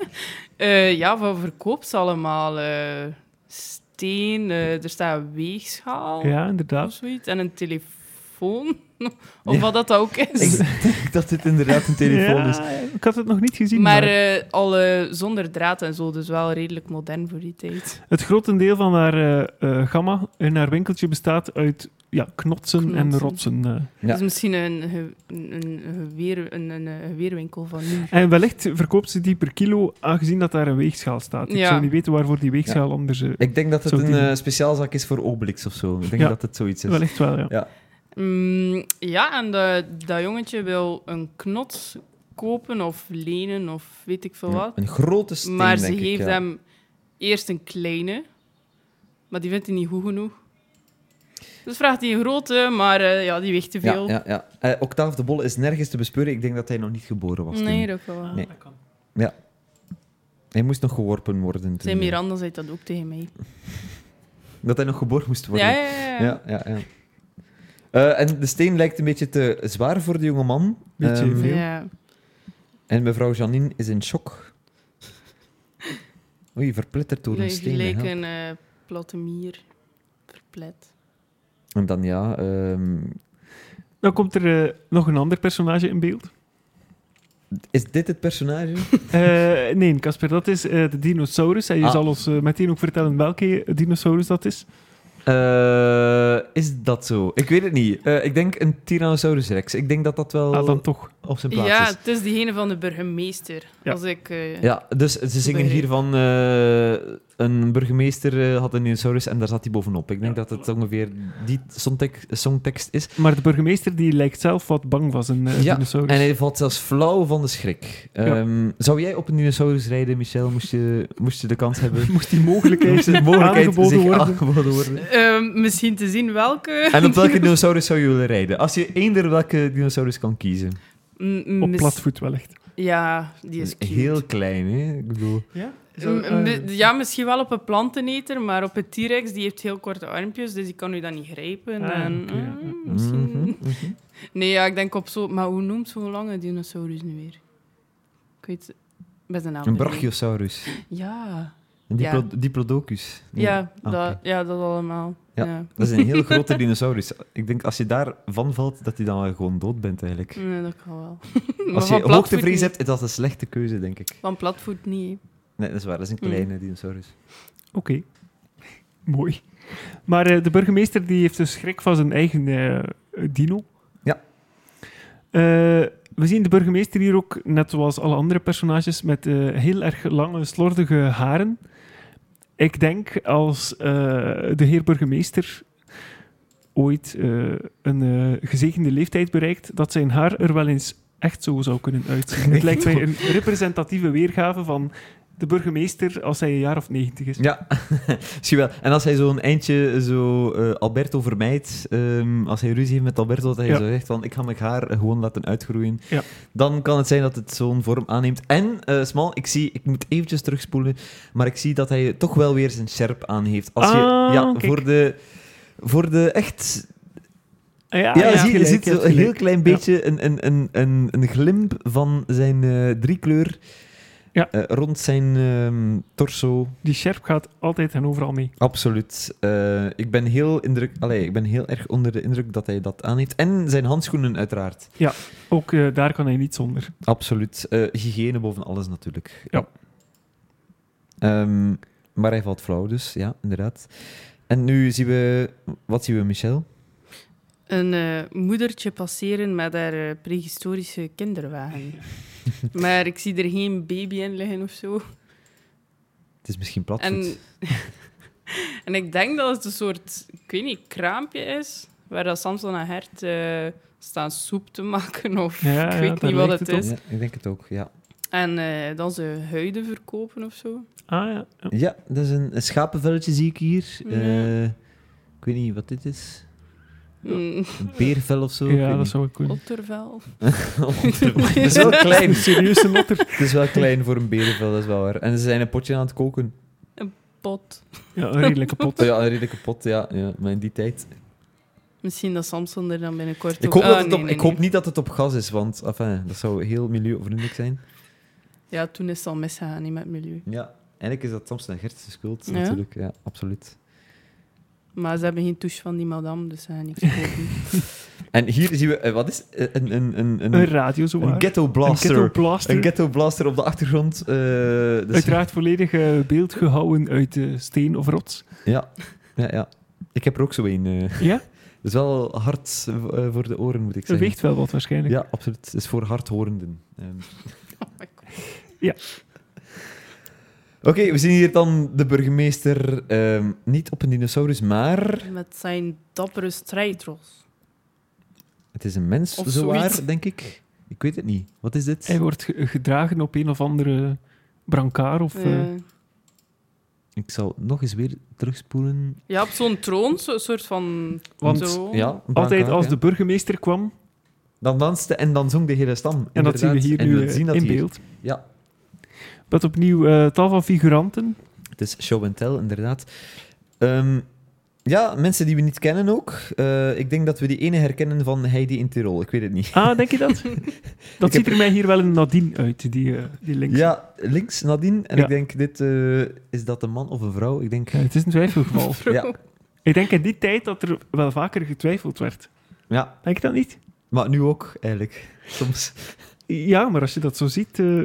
S3: Eh, ja, wat verkoopt ze allemaal? Eh, steen, eh, er staat een weegschaal
S1: Ja,
S3: of
S1: inderdaad.
S3: zoiets. En een telefoon. of
S2: Ja.
S3: wat dat ook is.
S2: Ik denk dat dit inderdaad een telefoon is.
S1: Ja, ik had het nog niet gezien. Maar,
S3: Maar eh, al eh, zonder draad en zo, dus wel redelijk modern voor die tijd.
S1: het grotendeel van haar eh, eh, gamma in haar winkeltje bestaat uit ja, knotsen, en
S3: Knotsen.
S1: rotsen. eh.
S2: Ja.
S3: Dus misschien een, ge- een, een geweer, een, een, eh, geweerwinkel van nu.
S1: En wellicht verkoopt ze die per kilo, aangezien dat daar een weegschaal staat. Ik
S3: Ja.
S1: zou niet weten waarvoor die weegschaal anders... eh,
S2: Ik denk dat het
S1: Zo
S2: een
S1: die-
S2: eh, speciaalzaak is voor Obelix of zo. Ik denk
S1: Ja.
S2: dat het zoiets is.
S1: wellicht wel, ja.
S3: Mm, ja, en dat- dat jongetje wil een knots kopen of lenen of weet ik veel
S2: Ja,
S3: wat.
S2: Een grote steen,
S3: Maar ze
S2: denk ik,
S3: geeft
S2: ja.
S3: hem eerst een kleine, maar die vindt hij niet goed genoeg. Dus vraagt hij een grote, maar eh, ja, die weegt te
S2: Ja,
S3: veel.
S2: ja, ja. Eh, Octave de Bolle is nergens te bespeuren. Ik denk dat hij nog niet geboren was. toen.
S3: nee, dat wel.
S2: Nee. Hij moest nog geworpen worden. Toen, eh,
S3: Zijn Miranda zei dat ook tegen mij.
S2: Dat hij nog geboren moest worden.
S3: Ja, ja, ja.
S2: ja, ja, ja. Eh, en de steen lijkt een beetje te zwaar voor de jonge man.
S1: Beetje
S2: Ehm,
S1: veel.
S3: Ja.
S2: en mevrouw Janine is in shock. Oei, verpletterd door een
S3: Gelijk
S2: steen. hè.
S3: een eh, platte mier. Verplet.
S2: En dan ja, ehm,
S1: Dan komt er eh, nog een ander personage in beeld.
S2: is dit het personage?
S1: Eh, nee, Casper, dat is eh, de dinosaurus. En je
S2: Ah.
S1: zal ons eh, meteen ook vertellen welke dinosaurus dat is.
S2: Eh, is dat zo? Ik weet het niet. Eh, ik denk een Tyrannosaurus Rex. Ik denk dat dat wel
S1: Ah, dan toch.
S2: op zijn plaats
S3: Ja,
S2: is.
S3: het is diegene van de burgemeester.
S1: Ja.
S3: Als ik... eh,
S2: Ja, dus ze zingen hier van eh, een burgemeester eh, had een dinosaurus en daar zat hij bovenop. Ik denk
S1: Ja,
S2: dat het ongeveer die songtek- songtekst is.
S1: Maar de burgemeester die lijkt zelf wat bang van zijn eh,
S2: Ja,
S1: dinosaurus.
S2: En hij valt zelfs flauw van de schrik. Ehm, Zou jij op een dinosaurus rijden, Michel? Moest je, moest je de kans hebben?
S1: Moest die mogelijkheid,
S2: Moest de mogelijkheid
S1: aangeboden
S2: zich
S1: worden.
S2: aangeboden worden?
S3: ehm, misschien te zien welke...
S2: En op welke dinosaurus zou je willen rijden? Als je eender welke dinosaurus kan kiezen.
S3: Mm,
S1: op
S3: mis-
S1: platvoet wellicht.
S3: Ja, die is cute.
S2: Heel eh, klein, hè? Ik bedoel...
S1: Ja?
S3: Mm,
S1: Eh,
S3: mi- ja, misschien wel op een planteneter, maar op een T-Rex, die heeft heel korte armpjes, dus die kan u dan niet grijpen.
S1: Ah,
S3: en,
S1: oké, ja.
S3: mm, misschien...
S2: Mhm, mhm.
S3: Nee, ja, ik denk op zo... Maar hoe noemt zo'n lange dinosaurus nu weer? Ik weet best een naam.
S2: Een
S3: vergeten.
S2: brachiosaurus.
S3: Ja.
S2: Een
S3: Ja.
S2: diplo- diplodocus. Nee.
S3: Ja,
S2: Ah,
S3: dat,
S2: oké.
S3: ja, dat allemaal.
S2: Ja.
S3: Ja.
S2: Dat is een heel grote dinosaurus. Ik denk, als je daarvan valt, dat je dan wel gewoon dood bent, eigenlijk.
S1: Mm,
S3: Nee, dat kan wel. Maar
S2: Als
S3: van
S2: je
S3: platvoet
S2: hoogtevrees
S3: niet.
S2: hebt, is dat een slechte keuze, denk ik.
S3: Van platvoet niet.
S2: Nee, dat is waar. Dat is een
S3: Mm.
S2: kleine dinosaurus.
S1: Oké. Mooi. Maar eh, de burgemeester die heeft dus schrik van zijn eigen eh, dino.
S2: Ja.
S1: Eh, we zien de burgemeester hier ook, net zoals alle andere personages, met eh, heel erg lange, slordige haren. Ik denk als eh, de heer burgemeester ooit eh, een eh, gezegende leeftijd bereikt, dat zijn haar er wel eens echt zo zou kunnen uitzien. Het lijkt mij een representatieve weergave van de burgemeester als hij een jaar of negentig is.
S2: Ja, zie wel. En als hij zo'n eindje zo eh, Alberto vermijdt, ehm, als hij ruzie heeft met Alberto, dat hij
S1: Ja.
S2: zo zegt van ik ga mijn haar gewoon laten uitgroeien,
S1: Ja.
S2: dan kan het zijn dat het zo'n vorm aanneemt. En, eh, Smal, ik zie, ik moet eventjes terugspoelen, maar ik zie dat hij toch wel weer zijn sjerp aan heeft. Als je,
S1: Ah,
S2: ja,
S1: kijk.
S2: voor de... Voor de echt...
S1: Ah, ja,
S2: Ja,
S1: je hebt
S2: zie, je
S1: gelijk,
S2: ziet
S1: je hebt
S2: zo een heel
S1: gelijk.
S2: klein beetje een, een, een, een, een glimp van zijn eh, driekleur
S1: Ja.
S2: eh, rond zijn ehm, torso.
S1: Die Sherp gaat altijd en overal mee.
S2: Absoluut. Eh, ik, ben heel indruk, allee, ik ben heel erg onder de indruk dat hij dat aan heeft. En zijn handschoenen, uiteraard.
S1: Ook eh, daar kan hij niet zonder.
S2: Absoluut. Eh, hygiëne boven alles, natuurlijk.
S1: Ja.
S2: Ehm, maar hij valt flauw, dus ja, inderdaad. En nu zien we... Wat zien we, Michel?
S3: Een eh, moedertje passeren met haar eh, prehistorische kinderwagen. maar ik zie er geen baby in liggen of zo.
S2: Het is misschien platvoet.
S3: En, en ik denk dat het een soort, ik weet niet, kraampje is. Waar dat Samson en Hert eh, staan soep te maken of
S1: Ja, ja,
S3: ik weet
S1: daar
S3: niet wat
S1: lijkt het
S3: het
S1: op.
S3: is.
S2: Ja, ik denk het ook, ja.
S3: En eh, dan ze huiden verkopen of zo.
S1: Ah ja.
S2: Ja, dat is een, een schapenvelletje, zie ik hier.
S3: Ja.
S2: Eh, ik weet niet wat dit is.
S3: Mm,
S2: Een beervel of zo? Ik weet
S1: ja, dat
S2: niet. Oh.
S1: zou ik kunnen.
S3: ottervel.
S2: Het is wel klein.
S1: Een serieuze notter.
S2: Het is wel klein voor een berenvel, dat is wel waar. En ze zijn een potje aan het koken.
S3: Pot.
S1: Ja, een redelijke pot.
S2: Oh ja, een redelijke pot, ja. ja maar in die tijd...
S3: Misschien dat Samson er dan binnenkort
S2: Ik hoop,
S3: Ah,
S2: dat het
S3: nee,
S2: op,
S3: nee,
S2: ik hoop
S3: nee.
S2: niet dat het op gas is, want enfin, dat zou heel milieuvriendelijk zijn.
S3: Ja, toen is het al misgegaan, niet met milieu.
S2: Ja, eigenlijk is dat Samson en Gert zijn schuld,
S3: Ja?
S2: natuurlijk. Ja, absoluut.
S3: Maar ze hebben geen touche van die madame, dus ze gaan niks kopen.
S2: En hier zien we... eh, Wat is eh, een... Een, een, een,
S1: Een radio, zo
S2: een
S1: waar.
S2: ghetto
S1: Een
S2: blaster.
S1: ghetto blaster.
S2: Een ghetto blaster op de achtergrond. eh, dus-
S1: Uiteraard volledig eh, beeld gehouden uit eh, steen of rots.
S2: Ja, ja, ja. Ik heb er ook zo een. eh.
S1: Ja,
S2: Dat is wel hard eh, voor de oren, moet ik
S1: dat
S2: zeggen.
S1: weegt wel wat waarschijnlijk.
S2: Ja, absoluut. Het is voor hardhorenden. Ehm.
S1: Ja.
S2: Oké, we zien hier dan de burgemeester ehm, niet op een dinosaurus, maar
S3: met zijn dappere strijdros.
S2: het is een mens,
S3: Of
S2: zowaar,
S3: zoiets.
S2: denk ik. Ik weet het niet. Wat is dit?
S1: Hij wordt ge- gedragen op een of andere brancard
S2: Hm.
S1: of... eh,
S3: Eh,
S2: Ik zal nog eens weer terugspoelen.
S3: ja, op zo'n troon, zo'n soort van...
S1: Want
S3: zo.
S2: Ja, een brancard,
S1: altijd als
S2: ja.
S1: de burgemeester kwam, en
S2: Dan danste en dan zong de hele stam.
S1: dat zien we
S2: inderdaad.
S1: hier
S2: En
S1: nu
S2: we
S1: eh,
S2: zien dat
S1: in
S2: hier.
S1: beeld.
S2: Ja.
S1: Met opnieuw eh, tal van figuranten.
S2: Het is show and tell, inderdaad. Ehm, ja, mensen die we niet kennen ook. Eh, ik denk dat we die ene herkennen van Heidi in Tirol. Ik weet het niet.
S1: Ah, denk je dat? dat
S2: Ik
S1: ziet er mij hier wel een Nadine uit, die, eh, die links.
S2: Ja, links Nadine. En
S1: Ja.
S2: ik denk, dit, eh, is dat een man of een vrouw? Ik denk...
S1: Ja, het is een twijfelgeval.
S2: Ja.
S1: Ik denk in die tijd dat er wel vaker getwijfeld werd.
S2: Ja,
S1: Denk je dat niet?
S2: maar nu ook, eigenlijk. Soms.
S1: Ja, maar als je dat zo ziet, eh,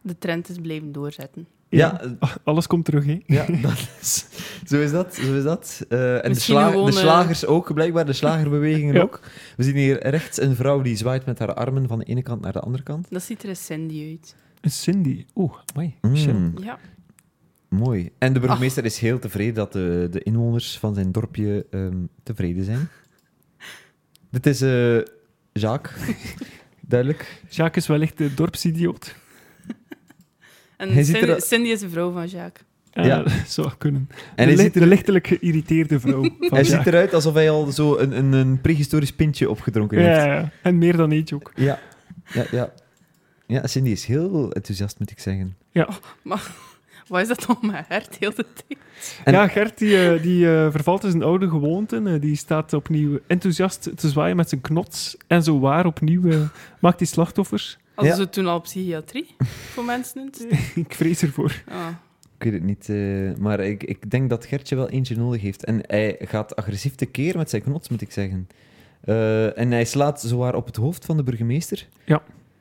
S3: De trend is blijven doorzetten.
S1: ja.
S2: Ja, eh,
S1: Ah, alles komt terug. Hè.
S2: ja dat is, zo is dat. Zo is dat. Eh, en de,
S3: Misschien
S2: sla-
S3: gewoon,
S2: de
S3: eh,
S2: slagers ook, blijkbaar. De slagerbewegingen
S1: Ja.
S2: ook. We zien hier rechts een vrouw die zwaait met haar armen van de ene kant naar de andere kant.
S3: Dat ziet er een Sandy uit.
S1: Een Cindy. Oeh, mooi.
S2: Mm,
S3: Ja.
S2: mooi. En de burgemeester is heel tevreden dat de, de inwoners van zijn dorpje ehm, tevreden zijn. Dit is eh Jacques. Duidelijk.
S1: Jacques is wellicht de dorpsidioot.
S3: En
S2: Hij ziet
S3: Cindy,
S2: er-
S3: Cindy is de vrouw van Jacques.
S1: ja,
S2: Ja.
S1: dat Eh, zou kunnen.
S2: En
S1: de,
S2: hij
S1: li-
S2: ziet
S1: de lichtelijk geïrriteerde vrouw. Van
S2: Hij
S1: Jacques.
S2: ziet eruit alsof hij al zo een, een, een prehistorisch pintje opgedronken heeft.
S1: ja, ja, ja. en meer dan eentje ook.
S2: Ja, ja, ja. Ja, Cindy is heel enthousiast, moet ik zeggen.
S3: Wat is dat dan mijn hert heel de tijd?
S2: En-
S1: Ja, Gert die, eh, die eh, vervalt in zijn oude gewoonten. Eh, die staat opnieuw enthousiast te zwaaien met zijn knots. En zo waar opnieuw eh, maakt hij slachtoffers.
S3: Hadden
S2: Ja.
S3: ze toen al psychiatrie voor mensen in te steken?
S1: Ik vrees ervoor.
S3: Ah.
S2: Ik weet het niet, eh, maar ik, ik denk dat Gertje wel eentje nodig heeft. En hij gaat agressief tekeer met zijn knots, moet ik zeggen. Eh, en hij slaat zowaar op het hoofd van de burgemeester.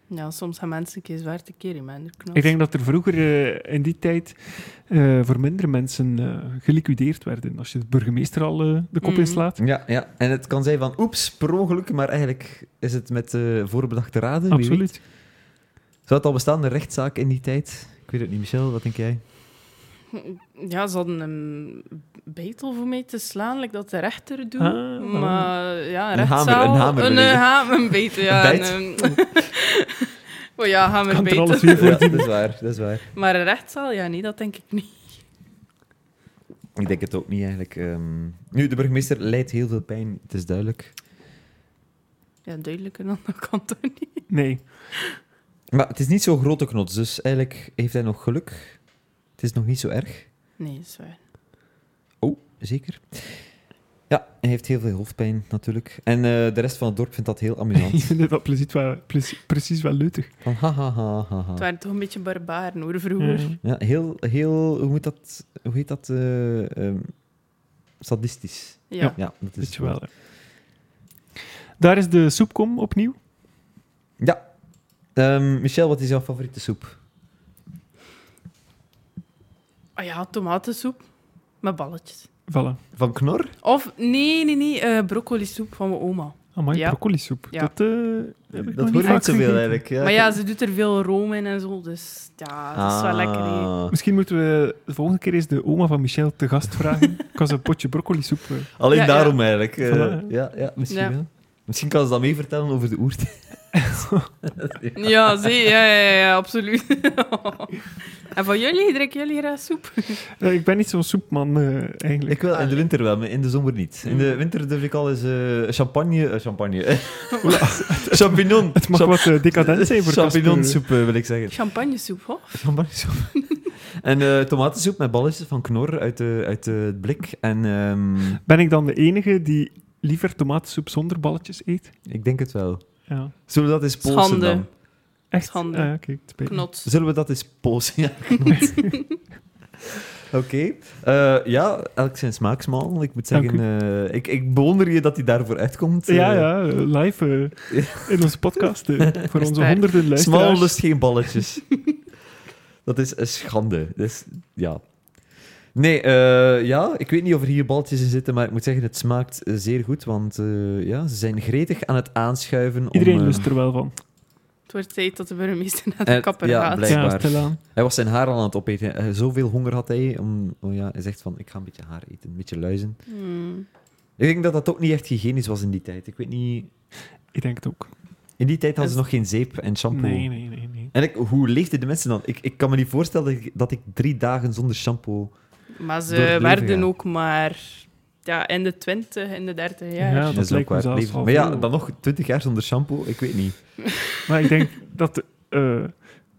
S3: Ja, soms gaan mensen een keer zwaar te keren in mijn knop.
S1: Ik denk dat er vroeger eh, in die tijd eh, voor mindere mensen eh, geliquideerd werden. Als je de burgemeester al eh, de kop
S3: Mhm.
S1: inslaat.
S2: Ja, ja. En het kan zijn van, oeps, per ongeluk, maar eigenlijk is het met eh, voorbedachte raden. wie weet.
S1: Absoluut.
S2: Zou het al bestaan, een rechtszaak in die tijd? Ik weet het niet, Michel, wat denk jij?
S3: Ja, ze hadden een beitel voor mij te slaan, like dat de rechter doet.
S1: Ah.
S3: maar ja, een,
S2: Een hamer,
S3: rechtszaal-
S2: een hamer
S3: Een,
S2: bedoel je?
S3: eh, hamer, een beitel, ja.
S2: Een
S3: een, eh, oh ja, hamer,
S1: Kan er
S3: beitel.
S1: alles weer voor.
S2: Ja, dat is waar, dat is waar.
S3: Maar een rechtszaal, ja, nee, dat denk ik niet.
S2: Ik denk het ook niet eigenlijk. ehm. Nu, de burgemeester lijdt heel veel pijn, het is duidelijk.
S3: Ja, duidelijker dan dat kan toch niet.
S1: Nee.
S2: Maar het is niet zo'n grote knots, dus eigenlijk heeft hij nog geluk. Het is nog niet zo erg,
S3: Nee, dat is waar.
S2: zeker. Ja, hij heeft heel veel hoofdpijn natuurlijk. En eh, de rest van het dorp vindt dat heel
S1: Ik
S2: amusant.
S1: vind dat precies wel, precies, precies wel leutig.
S2: Van ha, ha, ha, ha, ha.
S3: Het waren toch een beetje barbaren, hoor, vroeger.
S1: Ja.
S2: Ja, heel, heel, hoe moet dat, hoe heet dat, eh, ehm, sadistisch.
S3: Ja.
S1: Ja.
S2: Ja, dat
S1: Weet
S2: is
S1: je wel. hè. Daar is de soepkom opnieuw.
S2: Ja. Ehm, Michel, wat is jouw favoriete soep?
S3: Ah ja, tomatensoep met balletjes.
S1: Voilà.
S2: Van Knor?
S3: Of, nee, nee, nee, eh broccoli soep van mijn oma.
S1: Amai,
S3: Ja.
S1: broccoli soep.
S3: Ja.
S1: Ah, Dat, eh, heb ik nog
S2: Dat
S1: niet
S2: hoort
S1: vaak
S2: niet zoveel
S1: gegeten.
S2: eigenlijk. Ja,
S3: maar ja, ze doet er veel room in en zo, dus ja, dat is wel lekker. hè.
S2: Ah.
S1: Misschien moeten we de volgende keer eens de oma van Michel te gast vragen. kan ze een potje broccoli soep... eh,
S2: Alleen
S3: Ja, ja.
S2: daarom eigenlijk. eh,
S1: Voilà.
S2: ja, ja, misschien
S3: Ja.
S2: wel. Misschien kan ze dat mee vertellen over de oertijd.
S3: Ja, zie, ja, ja, ja, absoluut. en van jullie, drinken jullie graag soep?
S1: eh, ik ben niet zo'n soepman eh, eigenlijk.
S2: Ik wil in de winter wel, maar in de zomer niet. In
S3: Mm.
S2: de winter durf ik al eens eh, champagne... eh, champagne. Champignon.
S1: Het mag wat eh, decadent zijn voor Casper.
S2: Champignonsoep, eh, wil ik zeggen.
S3: Champagne soep, hoor.
S2: Champagnesoep. en eh, tomatensoep met balletjes van Knor uit, de, uit eh, het blik. En ehm,
S1: Ben ik dan de enige die liever tomatensoep zonder balletjes eet?
S2: ik denk het wel.
S1: Ja.
S2: Zullen we dat eens polsen
S3: Schande.
S2: dan?
S1: Echt?
S3: Schande.
S1: Ah, oké, het spijt me.
S3: Knots.
S2: Zullen we dat eens polsen? Ja, klopt. Oké. Eh, ja, elk zijn smaakmaal. Ik moet
S1: Dank
S2: zeggen, eh, ik, ik bewonder je dat hij daarvoor uitkomt.
S1: Ja,
S2: Eh,
S1: ja, eh, live eh, in onze podcast. eh, voor onze
S3: Expert.
S1: honderden
S2: Smal
S1: luisteraars.
S2: lust geen balletjes. dat is een schande. Dus, ja. Nee, eh, ja, ik weet niet of er hier balletjes in zitten, maar ik moet zeggen, het smaakt eh, zeer goed, want eh, ja, ze zijn gretig aan het aanschuiven.
S1: Iedereen
S2: om, eh,
S1: lust er wel van.
S3: Het wordt tijd dat de burgemeester naar de
S2: Eh,
S3: kapper
S2: ja,
S3: gaat.
S2: blijk- blijkbaar.
S1: Ja, stilaan.
S2: Hij was zijn haar al aan het opeten. Eh, zoveel honger had hij. Om, oh ja, hij zegt van, ik ga een beetje haar eten, een beetje luizen.
S3: Hmm.
S2: Ik denk dat dat ook niet echt hygiënisch was in die tijd. Ik weet niet...
S1: Ik denk het ook.
S2: In die tijd hadden ze
S3: Is-
S2: nog geen zeep en shampoo.
S1: Nee, nee, nee. nee.
S2: En ik, hoe leefden de mensen dan? Ik, ik kan me niet voorstellen dat ik, dat ik drie dagen zonder shampoo...
S3: Maar ze
S2: Door het leven
S3: werden
S2: gaan.
S3: ook maar ja, in de 20, in de 30 jaar.
S1: Ja. dat lijkt me
S2: waar.
S1: zelfs
S2: Leven-
S1: al
S2: Maar ja,
S1: veel.
S2: dan nog twintig jaar zonder shampoo, ik weet niet.
S1: Maar ik denk dat eh,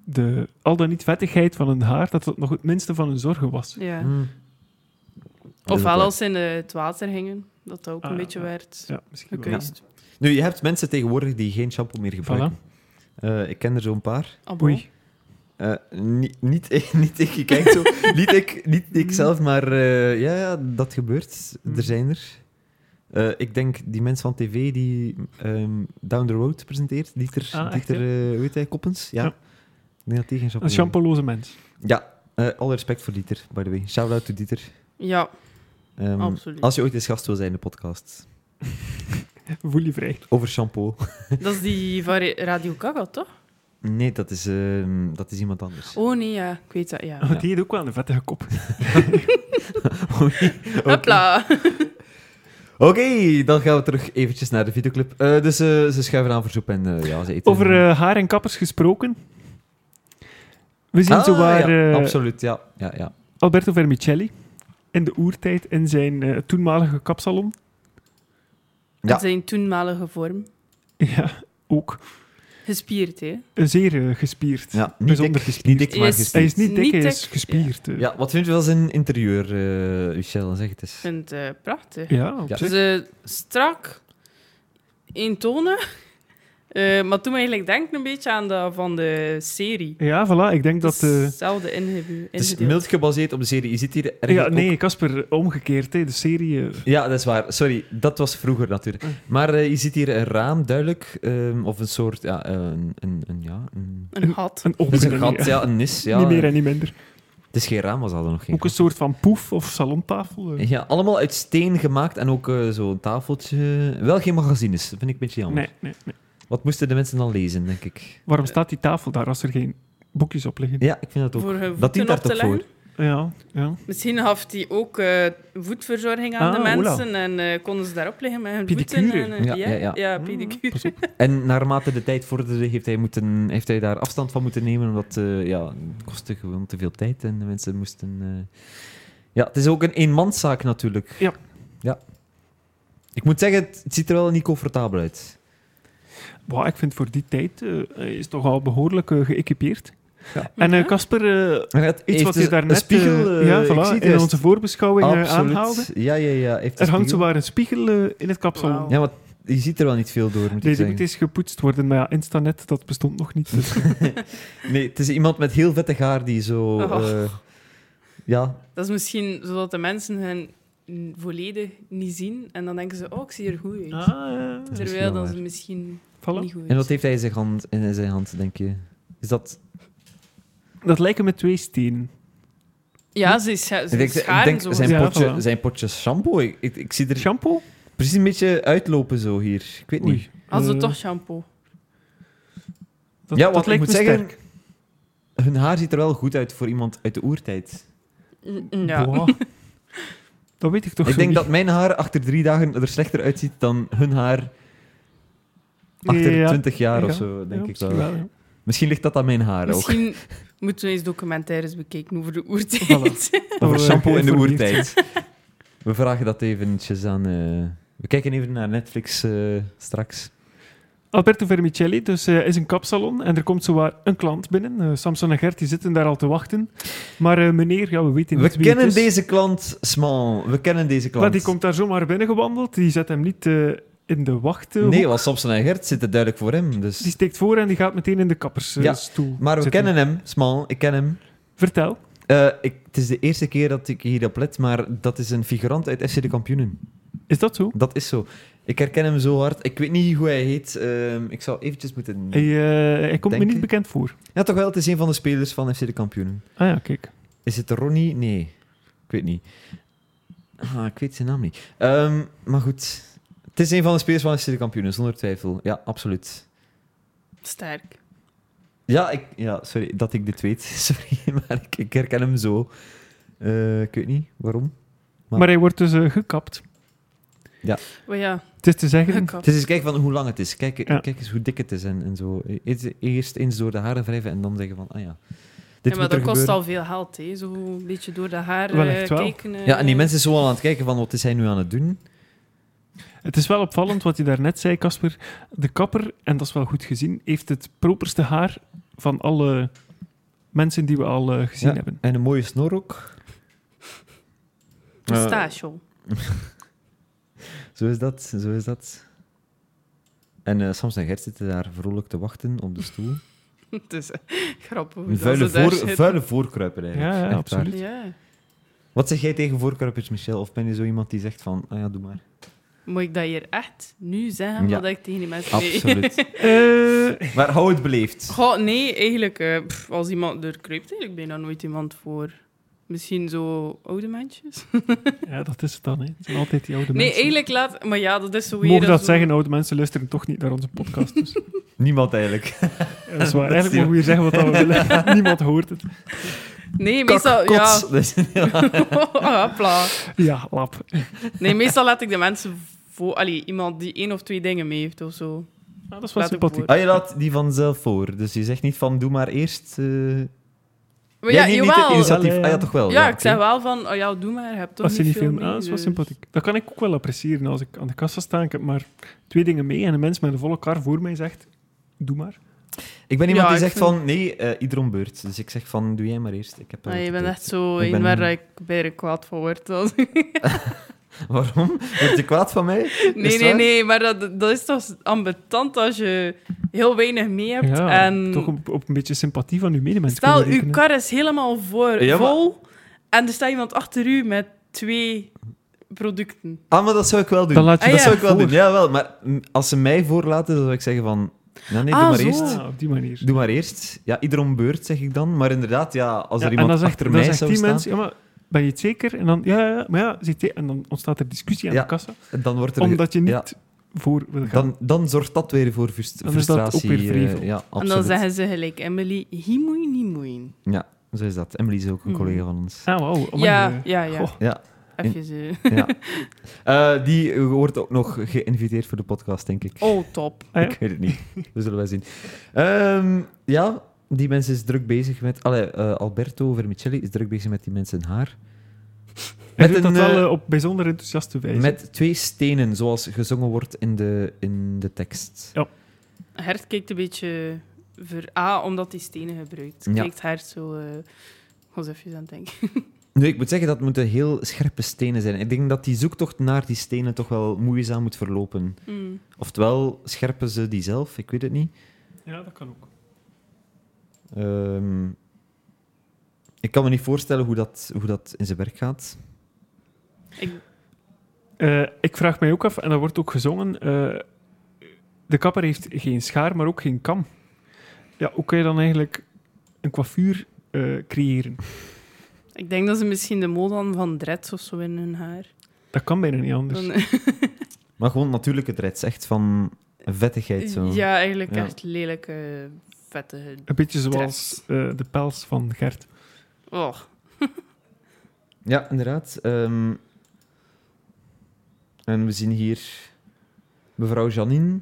S1: de al dan niet vettigheid van hun haar, dat dat nog het minste van hun zorgen was.
S3: Ja.
S2: Hmm. Dat is ook
S3: Ofwel
S2: waar.
S3: als ze in eh, het water hingen, dat dat ook
S1: Ah,
S3: een
S1: ja,
S3: beetje
S1: ja.
S3: werd.
S1: Ja, misschien wel.
S3: Gekweest.
S2: Nu, je hebt mensen tegenwoordig die geen shampoo meer gebruiken. Eh, ik ken er zo'n paar.
S3: Ah, bon.
S1: Oei.
S2: Eh, niet, niet, ik- niet ik, je kijkt zo. niet, ik, niet ik zelf, maar eh, ja, ja, dat gebeurt.
S1: Hmm.
S2: Er zijn er. Eh, ik denk die mensen van tv die ehm, Down the Road presenteert, Dieter,
S1: Ah, echt,
S2: Dieter eh, hoe heet hij, Koppens. Ja.
S1: Ja.
S2: Ik denk dat die geen
S1: Een
S2: chapeau
S1: champoloze mens.
S2: Ja, eh, alle respect voor Dieter, by the way. Shout-out to Dieter.
S3: Ja,
S2: Ehm,
S3: Absoluut.
S2: Als je ooit eens gast wil zijn in de podcast.
S1: Voel je vrij.
S2: Over shampoo.
S3: dat is die van Ra- Radio Gaga, toch?
S2: Nee, dat is, ehm, dat is iemand anders.
S3: Oh nee, ja. Ik weet dat, ja.
S1: Oh, die heeft ook wel een vettige kop.
S2: Oké.
S3: Hopla.
S2: Oké, dan gaan we terug eventjes naar de videoclip. Eh, dus eh, ze schuiven aan voor soep en eh, ja, ze eten.
S1: Over eh, haar en kappers gesproken. We zien
S2: Ah,
S1: zo waar
S2: ja,
S1: eh,
S2: absoluut, ja. ja, ja.
S1: Alberto Vermicelli in de oertijd in zijn eh, toenmalige kapsalon.
S2: Ja.
S3: Zijn toenmalige vorm.
S1: Ja, ook.
S3: Gespierd, hè?
S1: Eh, Zeer eh, gespierd.
S2: ja niet,
S1: Bijzonder
S2: dik,
S1: gespierd.
S2: niet dik, maar
S3: Yes.
S1: Hij
S2: gespierd.
S1: is niet dik,
S3: Niet
S1: hij
S3: dik.
S1: is gespierd. eh.
S2: Ja, wat vind je van zijn interieur, eh Michel? Zeg het
S3: Ik
S2: eens.
S3: vind het eh, prachtig.
S1: Ja, op
S2: Ja.
S1: zich.
S3: Ze strak, eentonen. Eh maar toen eigenlijk denk ik een beetje aan dat van de serie.
S1: Ja, voilà. Ik denk dat... eh,
S3: Hetzelfde ingebu-
S2: Het is
S3: ingedeeld.
S2: mild gebaseerd op de serie. Je ziet hier ergens
S1: ja,
S2: ook-
S1: nee, Casper, omgekeerd. Hè, de serie... eh,
S2: Ja, dat is waar. Sorry, dat was vroeger natuurlijk.
S1: Mm.
S2: Maar eh, je ziet hier een raam, duidelijk. ehm, of een soort, ja, een, een, een, ja, een,
S3: Een gat.
S1: Een
S2: dat is een
S1: opening.
S2: gat,
S1: ja.
S2: Dus ja, een nis. Ja.
S1: Niet meer en niet minder.
S2: Het is geen raam, was dat dan nog geen
S1: Ook een soort van poef of salontafel. eh.
S2: Ja, allemaal uit steen gemaakt en ook eh, zo'n tafeltje. Wel geen magazines, dat vind ik een beetje jammer.
S1: Nee, nee, nee.
S2: Wat moesten de mensen dan lezen, denk ik?
S1: Waarom staat die tafel daar als er geen boekjes op liggen?
S2: Ja, ik vind dat ook.
S3: Voor hun
S2: Dat dient
S3: voeten
S2: daar
S3: op te
S2: toch
S3: leggen.
S2: voor?
S1: Ja, ja.
S3: Misschien gaf hij ook eh, voetverzorging aan
S1: Ah,
S3: de mensen en eh, konden ze daarop liggen met hun
S1: Pedicure.
S3: voeten. En, eh,
S2: Ja,
S3: ja,
S2: ja, ja.
S3: pedicure.
S1: Pas op.
S2: En naarmate de tijd vorderde, heeft hij, moeten, heeft hij daar afstand van moeten nemen. Omdat eh, ja, het kostte gewoon te veel tijd en de mensen moesten. eh, Ja, het is ook een eenmanszaak natuurlijk.
S1: Ja.
S2: ja. Ik moet zeggen, het het ziet er wel niet comfortabel uit.
S1: Wow, ik vind voor die tijd eh, hij is toch al behoorlijk eh, geëquipeerd.
S2: Ja.
S1: En eh, Casper, eh,
S2: En het
S1: iets
S2: heeft
S1: wat
S2: dus
S1: je daarnet
S2: een spiegel
S1: eh,
S2: eh,
S1: ja,
S2: ik
S1: voilà,
S2: zie het
S1: in
S2: juist.
S1: onze voorbeschouwing eh,
S2: Absoluut.
S1: aanhaalde.
S2: Ja, ja, ja. Heeft een
S1: Er hangt
S2: spiegel.
S1: zowaar een spiegel eh, in het kapsalon.
S3: Wauw.
S2: Ja, want je ziet er wel niet veel door, moet
S1: Nee,
S2: ik
S1: die moet
S2: zeggen.
S1: eens gepoetst worden, maar ja, Instanet, dat bestond nog niet. Dus.
S2: Nee, het is iemand met heel vettig haar die zo...
S3: Oh.
S2: eh, ja,
S3: Dat is misschien zodat de mensen hen mm, volledig niet zien en dan denken ze, oh, ik zie er goed uit.
S1: ah,
S2: is misschien
S3: Terwijl
S2: wel
S3: dat ze
S2: waar.
S3: misschien niet
S1: voilà.
S3: goed
S2: en
S3: uit
S2: wat heeft hij in zijn hand, in zijn hand denk je? Is dat...
S1: Dat lijken me twee stenen.
S3: Ja, ze, scha- ze
S2: ik denk, ik
S3: scharen
S2: denk
S3: zo.
S2: zijn,
S1: Ja,
S2: potje,
S1: voilà.
S2: zijn potje shampoo. Ik, ik, ik zie er
S1: Shampoo?
S2: precies een beetje uitlopen zo hier. Ik weet niet.
S1: Oei.
S3: Als
S2: Mm.
S3: het
S1: Eh,
S3: toch shampoo.
S1: dat,
S2: Ja,
S1: dat
S2: want ik
S1: lijkt
S2: moet
S1: me
S2: zeggen,
S1: sterk.
S2: Hun haar ziet er wel goed uit voor iemand uit de oertijd.
S3: Mm, mm, Ja.
S1: Boah. Dat weet ik toch
S2: ik
S1: zo
S2: denk
S1: niet.
S2: dat mijn haar achter drie dagen er slechter uitziet dan hun haar achter
S1: Ja, ja.
S2: 20 jaar
S1: Ja,
S2: of zo, denk
S1: ja,
S2: ik wel.
S1: misschien ja.
S2: Misschien ligt dat aan mijn haar ook.
S3: Misschien moeten we eens documentaires bekijken over de oertijd.
S1: Oh,
S2: Over shampoo in de
S1: geïnformeerd.
S2: oertijd. We vragen dat eventjes aan... eh, we kijken even naar Netflix eh, straks.
S1: Alberto Vermicelli dus, eh, is een kapsalon en er komt zowaar een klant binnen. Eh, Samson en Gert die zitten daar al te wachten. Maar eh, meneer, ja, we weten
S2: We
S1: niet wie het
S2: kennen
S1: is.
S2: deze klant, Smal. We kennen deze klant.
S1: Maar die komt daar zomaar binnen gewandeld. Die zet hem niet eh, in de wachten.
S2: Nee, want Samson en Gert zitten duidelijk voor hem.
S1: Die
S2: Dus.
S1: steekt voor en die gaat meteen in de kappersstoel
S2: Ja,
S1: stoel.
S2: Maar we
S1: zitten.
S2: kennen hem, Smal. Ik ken hem.
S1: Vertel.
S2: Eh, ik, het is de eerste keer dat ik hierop let, maar dat is een figurant uit FC De Kampioenen.
S1: Is dat zo?
S2: Dat is zo. Ik herken hem zo hard. Ik weet niet hoe hij heet. Ehm, ik zou eventjes moeten...
S1: Hij, eh, hij komt
S2: Denk
S1: me
S2: ik.
S1: niet bekend voor.
S2: Ja, toch wel. Het is een van de spelers van FC De Kampioenen.
S1: Ah ja, kijk.
S2: Is het Ronnie? Nee, ik weet niet. Ah, ik weet zijn naam niet. Ehm, maar goed, het is een van de spelers van FC de kampioenen, zonder twijfel. Ja, absoluut.
S3: Sterk.
S2: Ja, ik, ja, sorry dat ik dit weet. Sorry, maar ik, ik herken hem zo. Eh, ik weet niet waarom. Maar-
S1: Maar, hij wordt dus eh, gekapt.
S3: Maar ja,
S1: Het is te zeggen,
S3: gekapt.
S2: Het is eens kijken van hoe lang het is. Kijk,
S1: Ja.
S2: kijk eens hoe dik het is en, en zo. Eerst- Eerst eens door de haren wrijven en dan zeggen van, ah ja, dit
S3: Ja,
S2: moet
S3: maar
S2: er
S3: dat kost
S2: gebeuren.
S3: al veel geld, hè. Zo een beetje door de haar
S1: Wel
S3: eh,
S1: echt wel.
S3: kijken. eh.
S2: Ja, en die mensen zijn zo al aan het kijken van, wat is hij nu aan het doen?
S1: het is wel opvallend wat je daarnet zei, Casper. De kapper, en dat is wel goed gezien, heeft het properste haar van alle mensen die we al eh, gezien
S2: Ja.
S1: hebben.
S2: En een mooie snor ook. Eh,
S3: Pistache.
S2: Zo is dat, zo is dat. En eh Samson en Gert zitten daar vrolijk te wachten op de stoel.
S3: Het is grappig hoe
S2: Een
S3: dat
S2: vuile,
S3: ze daar
S2: voor,
S3: zitten.
S2: vuile voorkruiper eigenlijk.
S1: Ja, ja,
S2: Echt waar.
S1: absoluut.
S3: Ja.
S2: Wat zeg jij tegen voorkruipers, Michel? Of ben je zo iemand die zegt van, ah ja, doe maar.
S3: Moet ik dat hier echt nu zeggen?
S2: Ja.
S3: Wat ik tegen die mensen... Nee.
S2: Absoluut.
S1: Eh,
S2: maar hou het beleefd.
S3: Goh, nee, eigenlijk, eh, pff, als iemand, er kruipt eigenlijk bijna nooit iemand voor. Misschien zo oude mensen.
S1: ja, dat is het dan. Hè. Het zijn altijd die oude
S3: Nee,
S1: mensen.
S3: eigenlijk laat... Maar ja, dat is zo weer...
S1: Mogen dat
S3: zo-
S1: zeggen, oude mensen luisteren toch niet naar onze podcast. Dus.
S2: Niemand eigenlijk.
S1: Ja, dat is waar.
S2: Dat
S1: Eigenlijk
S2: is
S1: mogen we hier zeggen wat we willen. Niemand hoort het.
S3: Nee, meestal...
S2: Kakkots.
S3: ja. Ah,
S2: Dat is-
S3: Hopla.
S1: Ja, lap.
S3: Nee, meestal laat ik de mensen voor... Allee, iemand die één of twee dingen mee heeft of zo.
S1: dat is wel
S3: Laat ik
S1: sympathiek.
S3: voor.
S2: Ah, je laat die vanzelf voor. Dus je zegt niet van, doe maar eerst... eh, jij
S3: Maar ja,
S2: neemt niet het
S3: jawel.
S2: initiatief.
S1: Wel, ja.
S2: Ah ja, toch wel.
S3: Ja, ik
S2: oké.
S3: zeg wel van, oh ja, doe maar, je hebt toch
S1: Als je niet veel...
S3: mee,
S1: Ah, dat is wel
S3: dus-
S1: sympathiek. Dat kan ik ook wel appreciëren. Als ik aan de kassa sta, en ik heb maar twee dingen mee en een mens met een volle kar voor mij zegt, doe maar.
S2: Ik ben iemand
S3: Ja,
S2: die
S3: ik
S2: zegt
S3: vind-
S2: van, nee, eh ieder om beurt. Dus ik zeg van, doe jij maar eerst. Ik heb
S3: Nee, Ah, je
S2: ben
S3: bent echt zo
S2: Ik
S3: een
S2: ben-
S3: waar ik bijna kwaad van word. als-
S2: Waarom? Word je kwaad van mij? Is het
S3: Nee, nee,
S2: waar?
S3: nee, maar dat, dat is toch ambetant als je heel weinig mee hebt.
S1: Ja,
S3: en
S1: toch op, op een beetje sympathie van uw medemens
S3: stel,
S1: kunnen
S3: uw
S1: rekenen.
S3: kar is helemaal voor,
S2: Ja, maar-
S3: vol en er staat iemand achter u met twee producten.
S2: Ah, maar dat zou ik wel doen.
S1: Dan laat je
S3: Ah,
S2: dat
S3: ja.
S2: zou ik wel
S1: voor.
S2: doen. Ja, wel. Maar mm, als ze mij voorlaten, dan zou ik zeggen van... Ja, nee,
S3: Ah,
S2: doe maar
S3: zo.
S2: eerst.
S1: Ah, op die manier.
S2: Doe maar eerst. Ja, ieder om beurt, zeg ik dan. Maar inderdaad, ja, als er
S1: Ja,
S2: iemand
S1: en dan zegt,
S2: achter
S1: dan
S2: mij
S1: zegt
S2: zou
S1: die
S2: staan,
S1: mens, ja, maar ben je het zeker? En dan, ja, ja, ja, maar ja, zit die- en dan ontstaat er discussie aan
S2: Ja,
S1: de kassa,
S2: dan wordt er...
S1: omdat je niet
S2: ja.
S1: voor wil gaan.
S2: dan, dan zorgt dat weer voor frust-
S1: Dan is dat ook
S2: frustratie.
S1: weer
S2: eh,
S1: vrevel.
S2: ja, absoluut.
S3: En dan zeggen ze gelijk, Emily, hier moet je niet moeien.
S2: Ja, zo is dat. Emily is ook een
S3: Mhm.
S2: collega van ons.
S1: Ah, wauw. amai,
S3: Ja,
S1: eh,
S3: ja, ja.
S1: goh.
S2: Ja.
S3: Even zo.
S2: Ja. Eh, die eh, wordt ook nog geïnviteerd voor de podcast, denk ik.
S3: Oh, top.
S1: Ah, ja.
S2: Ik weet het niet. We zullen wel zien. Ehm, ja, die mensen is druk bezig met... Allee, eh, Alberto Vermicelli is druk bezig met die mensen in haar.
S1: Hij
S2: Met
S1: doet
S2: een,
S1: dat wel
S2: eh,
S1: eh, op bijzonder enthousiaste wijze.
S2: Met twee stenen, zoals gezongen wordt in de, in de tekst.
S3: Hert kijkt een beetje... Ver... Ah, omdat hij stenen gebruikt.
S2: Ja.
S3: Kijkt Hert zo... eh was even aan het denken.
S2: Nu, ik moet zeggen, dat moeten heel scherpe stenen zijn. Ik denk dat die zoektocht naar die stenen toch wel moeizaam moet verlopen.
S3: Mm.
S2: Oftewel, scherpen ze die zelf? Ik weet het niet.
S1: Ja, dat kan ook.
S2: Ehm, ik kan me niet voorstellen hoe dat, hoe dat in zijn werk gaat.
S3: Ik...
S1: Eh, ik vraag mij ook af, en dat wordt ook gezongen, eh, de kapper heeft geen schaar, maar ook geen kam. Ja, hoe kan je dan eigenlijk een coiffure eh, creëren?
S3: Ik denk dat ze misschien de mode aan van dreads of zo in hun haar.
S1: Dat kan bijna niet anders.
S3: Dan, eh,
S2: Maar gewoon natuurlijke dreads, echt van vettigheid zo.
S3: ja, eigenlijk
S2: Ja.
S3: echt lelijke, vettige...
S1: Een beetje zoals eh, de pels van Gert.
S3: Oh,
S2: Ja, inderdaad. Ehm, en we zien hier mevrouw Janine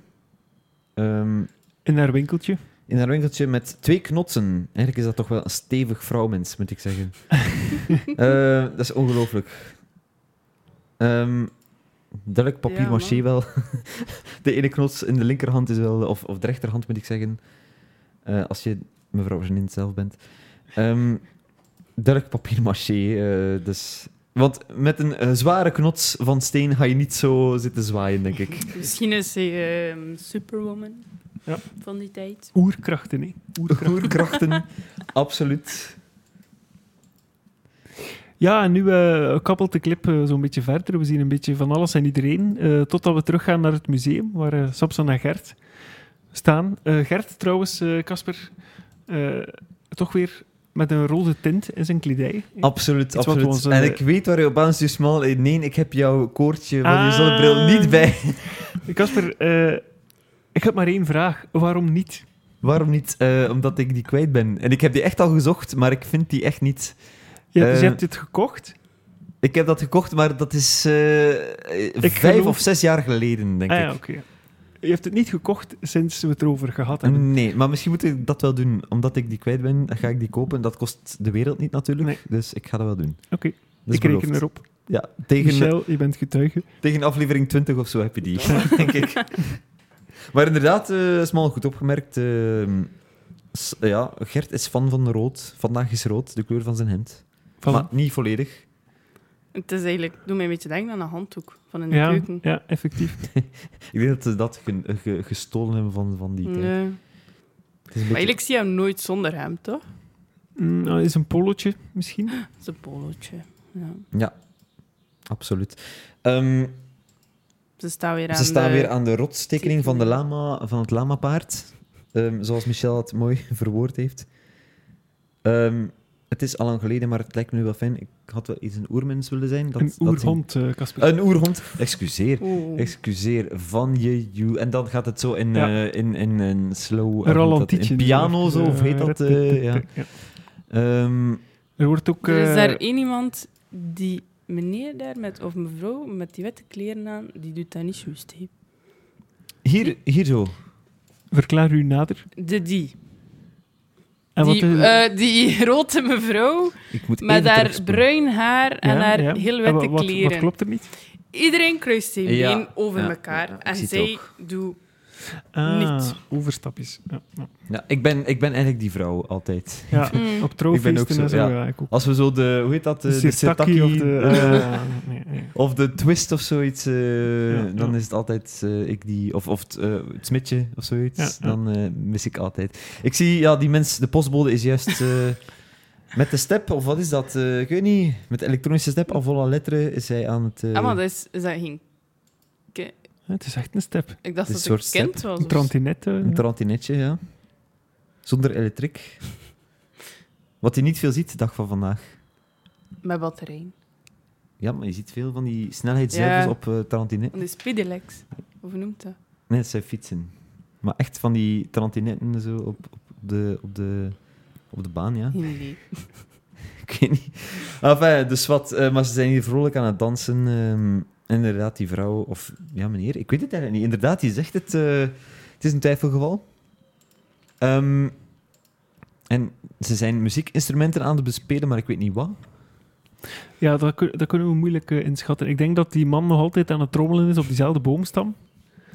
S2: ehm,
S1: In haar winkeltje.
S2: in haar winkeltje met twee knotsen. Eigenlijk is dat toch wel een stevig vrouwmens, moet ik zeggen. Eh, dat is ongelooflijk. Ehm duidelijk papier
S3: Ja,
S2: maché
S3: man.
S2: wel. de ene knots in de linkerhand is wel, of, of de rechterhand moet ik zeggen, Eh, als je mevrouw Janine zelf bent. Ehm duidelijk papier maché. eh, dus. Want met een eh, zware knots van steen ga je niet zo zitten zwaaien, denk ik.
S3: misschien is ze ehm, superwoman
S1: Ja.
S3: van die tijd.
S1: Oerkrachten, hè? Oerkrachten.
S2: Oerkrachten, absoluut.
S1: Ja, en nu eh, kappelt de clip eh, zo'n beetje verder. We zien een beetje van alles en iedereen. eh, totdat we teruggaan naar het museum, waar eh, Samson en Gert staan. Eh, Gert trouwens, eh, Casper, eh, toch weer met een rode tint in zijn kledij.
S2: Absoluut,
S1: Iets wat
S2: absoluut.
S1: onze-
S2: En ik weet waar je op aanstuurt, smal. Eh, Nee, ik heb jouw koortje van je
S1: Ah.
S2: zonnebril niet bij.
S1: Casper, eh, ik heb maar één vraag. Waarom niet?
S2: Waarom niet? Eh, omdat ik die kwijt ben. En ik heb die echt al gezocht, maar ik vind die echt niet.
S1: Ja, dus je
S2: Eh,
S1: hebt dit gekocht.
S2: Ik heb dat gekocht, maar dat is eh, eh, vijf
S1: geloof-
S2: of zes jaar geleden, denk
S1: Ah, ja,
S2: ik.
S1: oké. Je hebt het niet gekocht sinds we het erover gehad
S2: Mm,
S1: hebben.
S2: Nee, maar misschien moet ik dat wel doen. Omdat ik die kwijt ben, ga ik die kopen. Dat kost de wereld niet natuurlijk,
S1: Nee.
S2: dus ik ga dat wel doen.
S1: Oké,
S2: Dat is
S1: ik reken
S2: beloofd.
S1: erop.
S2: Ja, tegen,
S1: Michel, je bent getuige.
S2: Tegen aflevering 20 of zo heb je die, denk ik. Maar inderdaad, eh Smal, goed opgemerkt. eh, s- ja, Gert is fan van rood. Vandaag is rood, de kleur van zijn hemd.
S1: Voilà.
S2: Maar niet volledig.
S3: Het is eigenlijk, doe mij een beetje denken aan een handdoek van in de
S1: ja,
S3: keuken.
S1: ja, effectief.
S2: Ik denk dat ze dat ge- ge- gestolen hebben van, van die tijd. Het is
S3: Nee.
S2: een
S3: Maar
S2: beetje-
S3: eigenlijk zie je hem nooit zonder hem, toch?
S1: Mm, nou, is een pollotje misschien.
S3: Dat is een polootje. Ja.
S2: Absoluut. Ehm,
S3: Ze staan weer aan
S2: ze staan
S3: de-
S2: weer aan de rotstekening van, de
S3: tekening.
S2: lama, van het lamapaard. Ehm, zoals Michel het mooi verwoord heeft. Ehm, het is al lang geleden, maar het lijkt me nu wel fijn. Ik had wel iets een oermens willen zijn. Dat,
S1: een
S2: dat-
S1: oerhond, eh, Casper.
S2: Een oerhond. Excuseer.
S3: Oeh.
S2: Excuseer, van je, you. En dan gaat het zo in,
S1: Ja.
S2: eh, in, in een slow...
S1: een
S2: eh, hoe heet dat?
S1: rallantietje.
S2: In piano zo, of heet dat? eh, ja. Ehm,
S1: Er wordt ook...
S3: Er is
S1: eh,
S3: daar één iemand, die meneer daar, met, of mevrouw, met die witte kleren aan, die doet dat niet juist. hè.
S2: hier, hier zo.
S1: Verklaar u nader.
S3: De die.
S1: En
S3: die,
S1: is-
S3: eh, die rode mevrouw
S2: Ik moet
S3: met
S2: even
S3: haar
S2: terugspoelen.
S3: bruin haar en
S1: ja,
S3: haar
S1: ja.
S3: heel
S1: En wa-
S3: witte
S1: wat,
S3: kleren.
S1: Wat klopt er niet?
S3: Iedereen kruist zijn
S2: Ja,
S3: been over
S2: ja,
S3: elkaar.
S2: ja, ik zie
S3: en
S2: het
S3: zij doet...
S2: Ah.
S3: Niet.
S1: Overstapjes. Ja, ja.
S2: Ja, ik, ben, ik ben eigenlijk die vrouw altijd.
S1: Ja,
S3: Mm.
S1: op trouwfeesten
S2: zo,
S1: en zo.
S2: ja.
S1: Ja, ik ook.
S2: Als we zo de, hoe heet dat? De, de
S1: Sirtaki
S2: sirtaki,
S1: of de...
S2: eh,
S1: eh, nee, nee.
S2: of de twist of zoiets, eh,
S1: Ja,
S2: dan
S1: ja.
S2: is het altijd eh, ik die, of, of het, eh, het smidje of zoiets,
S1: Ja, ja.
S2: dan eh, mis ik altijd. Ik zie, ja, die mens, de postbode is juist eh, met de step, of wat is dat? Eh, ik weet niet, met de elektronische step, al volle letteren is hij aan het... eh,
S3: Ah, maar dat is, is dat geen...
S1: Het is echt een step.
S2: Een
S3: Ik dacht dat het
S2: soort
S3: een kind was.
S1: Een
S3: of-
S1: trantinette.
S2: Een tarantinetje, ja. Zonder elektriek. Wat je niet veel ziet, de dag van vandaag.
S3: Met batterij.
S2: Ja, maar je ziet veel van die snelheidszuivers
S3: Ja.
S2: op eh tarantinet.
S3: Van die speedelecs. Hoe noemt dat?
S2: Nee, het zijn fietsen. Maar echt van die tarantinetten zo op, op, de, op, de, op de baan, ja.
S3: Geen idee.
S2: Ik weet niet. Enfin, dus wat, eh, maar ze zijn hier vrolijk aan het dansen. ehm, inderdaad, die vrouw, of ja, meneer, ik weet het eigenlijk niet. Inderdaad, die zegt het. eh, het is een twijfelgeval. Ehm, en ze zijn muziekinstrumenten aan het bespelen, maar ik weet niet wat.
S1: Ja, dat, kun- dat kunnen we moeilijk eh, inschatten. Ik denk dat die man nog altijd aan het trommelen is op diezelfde boomstam.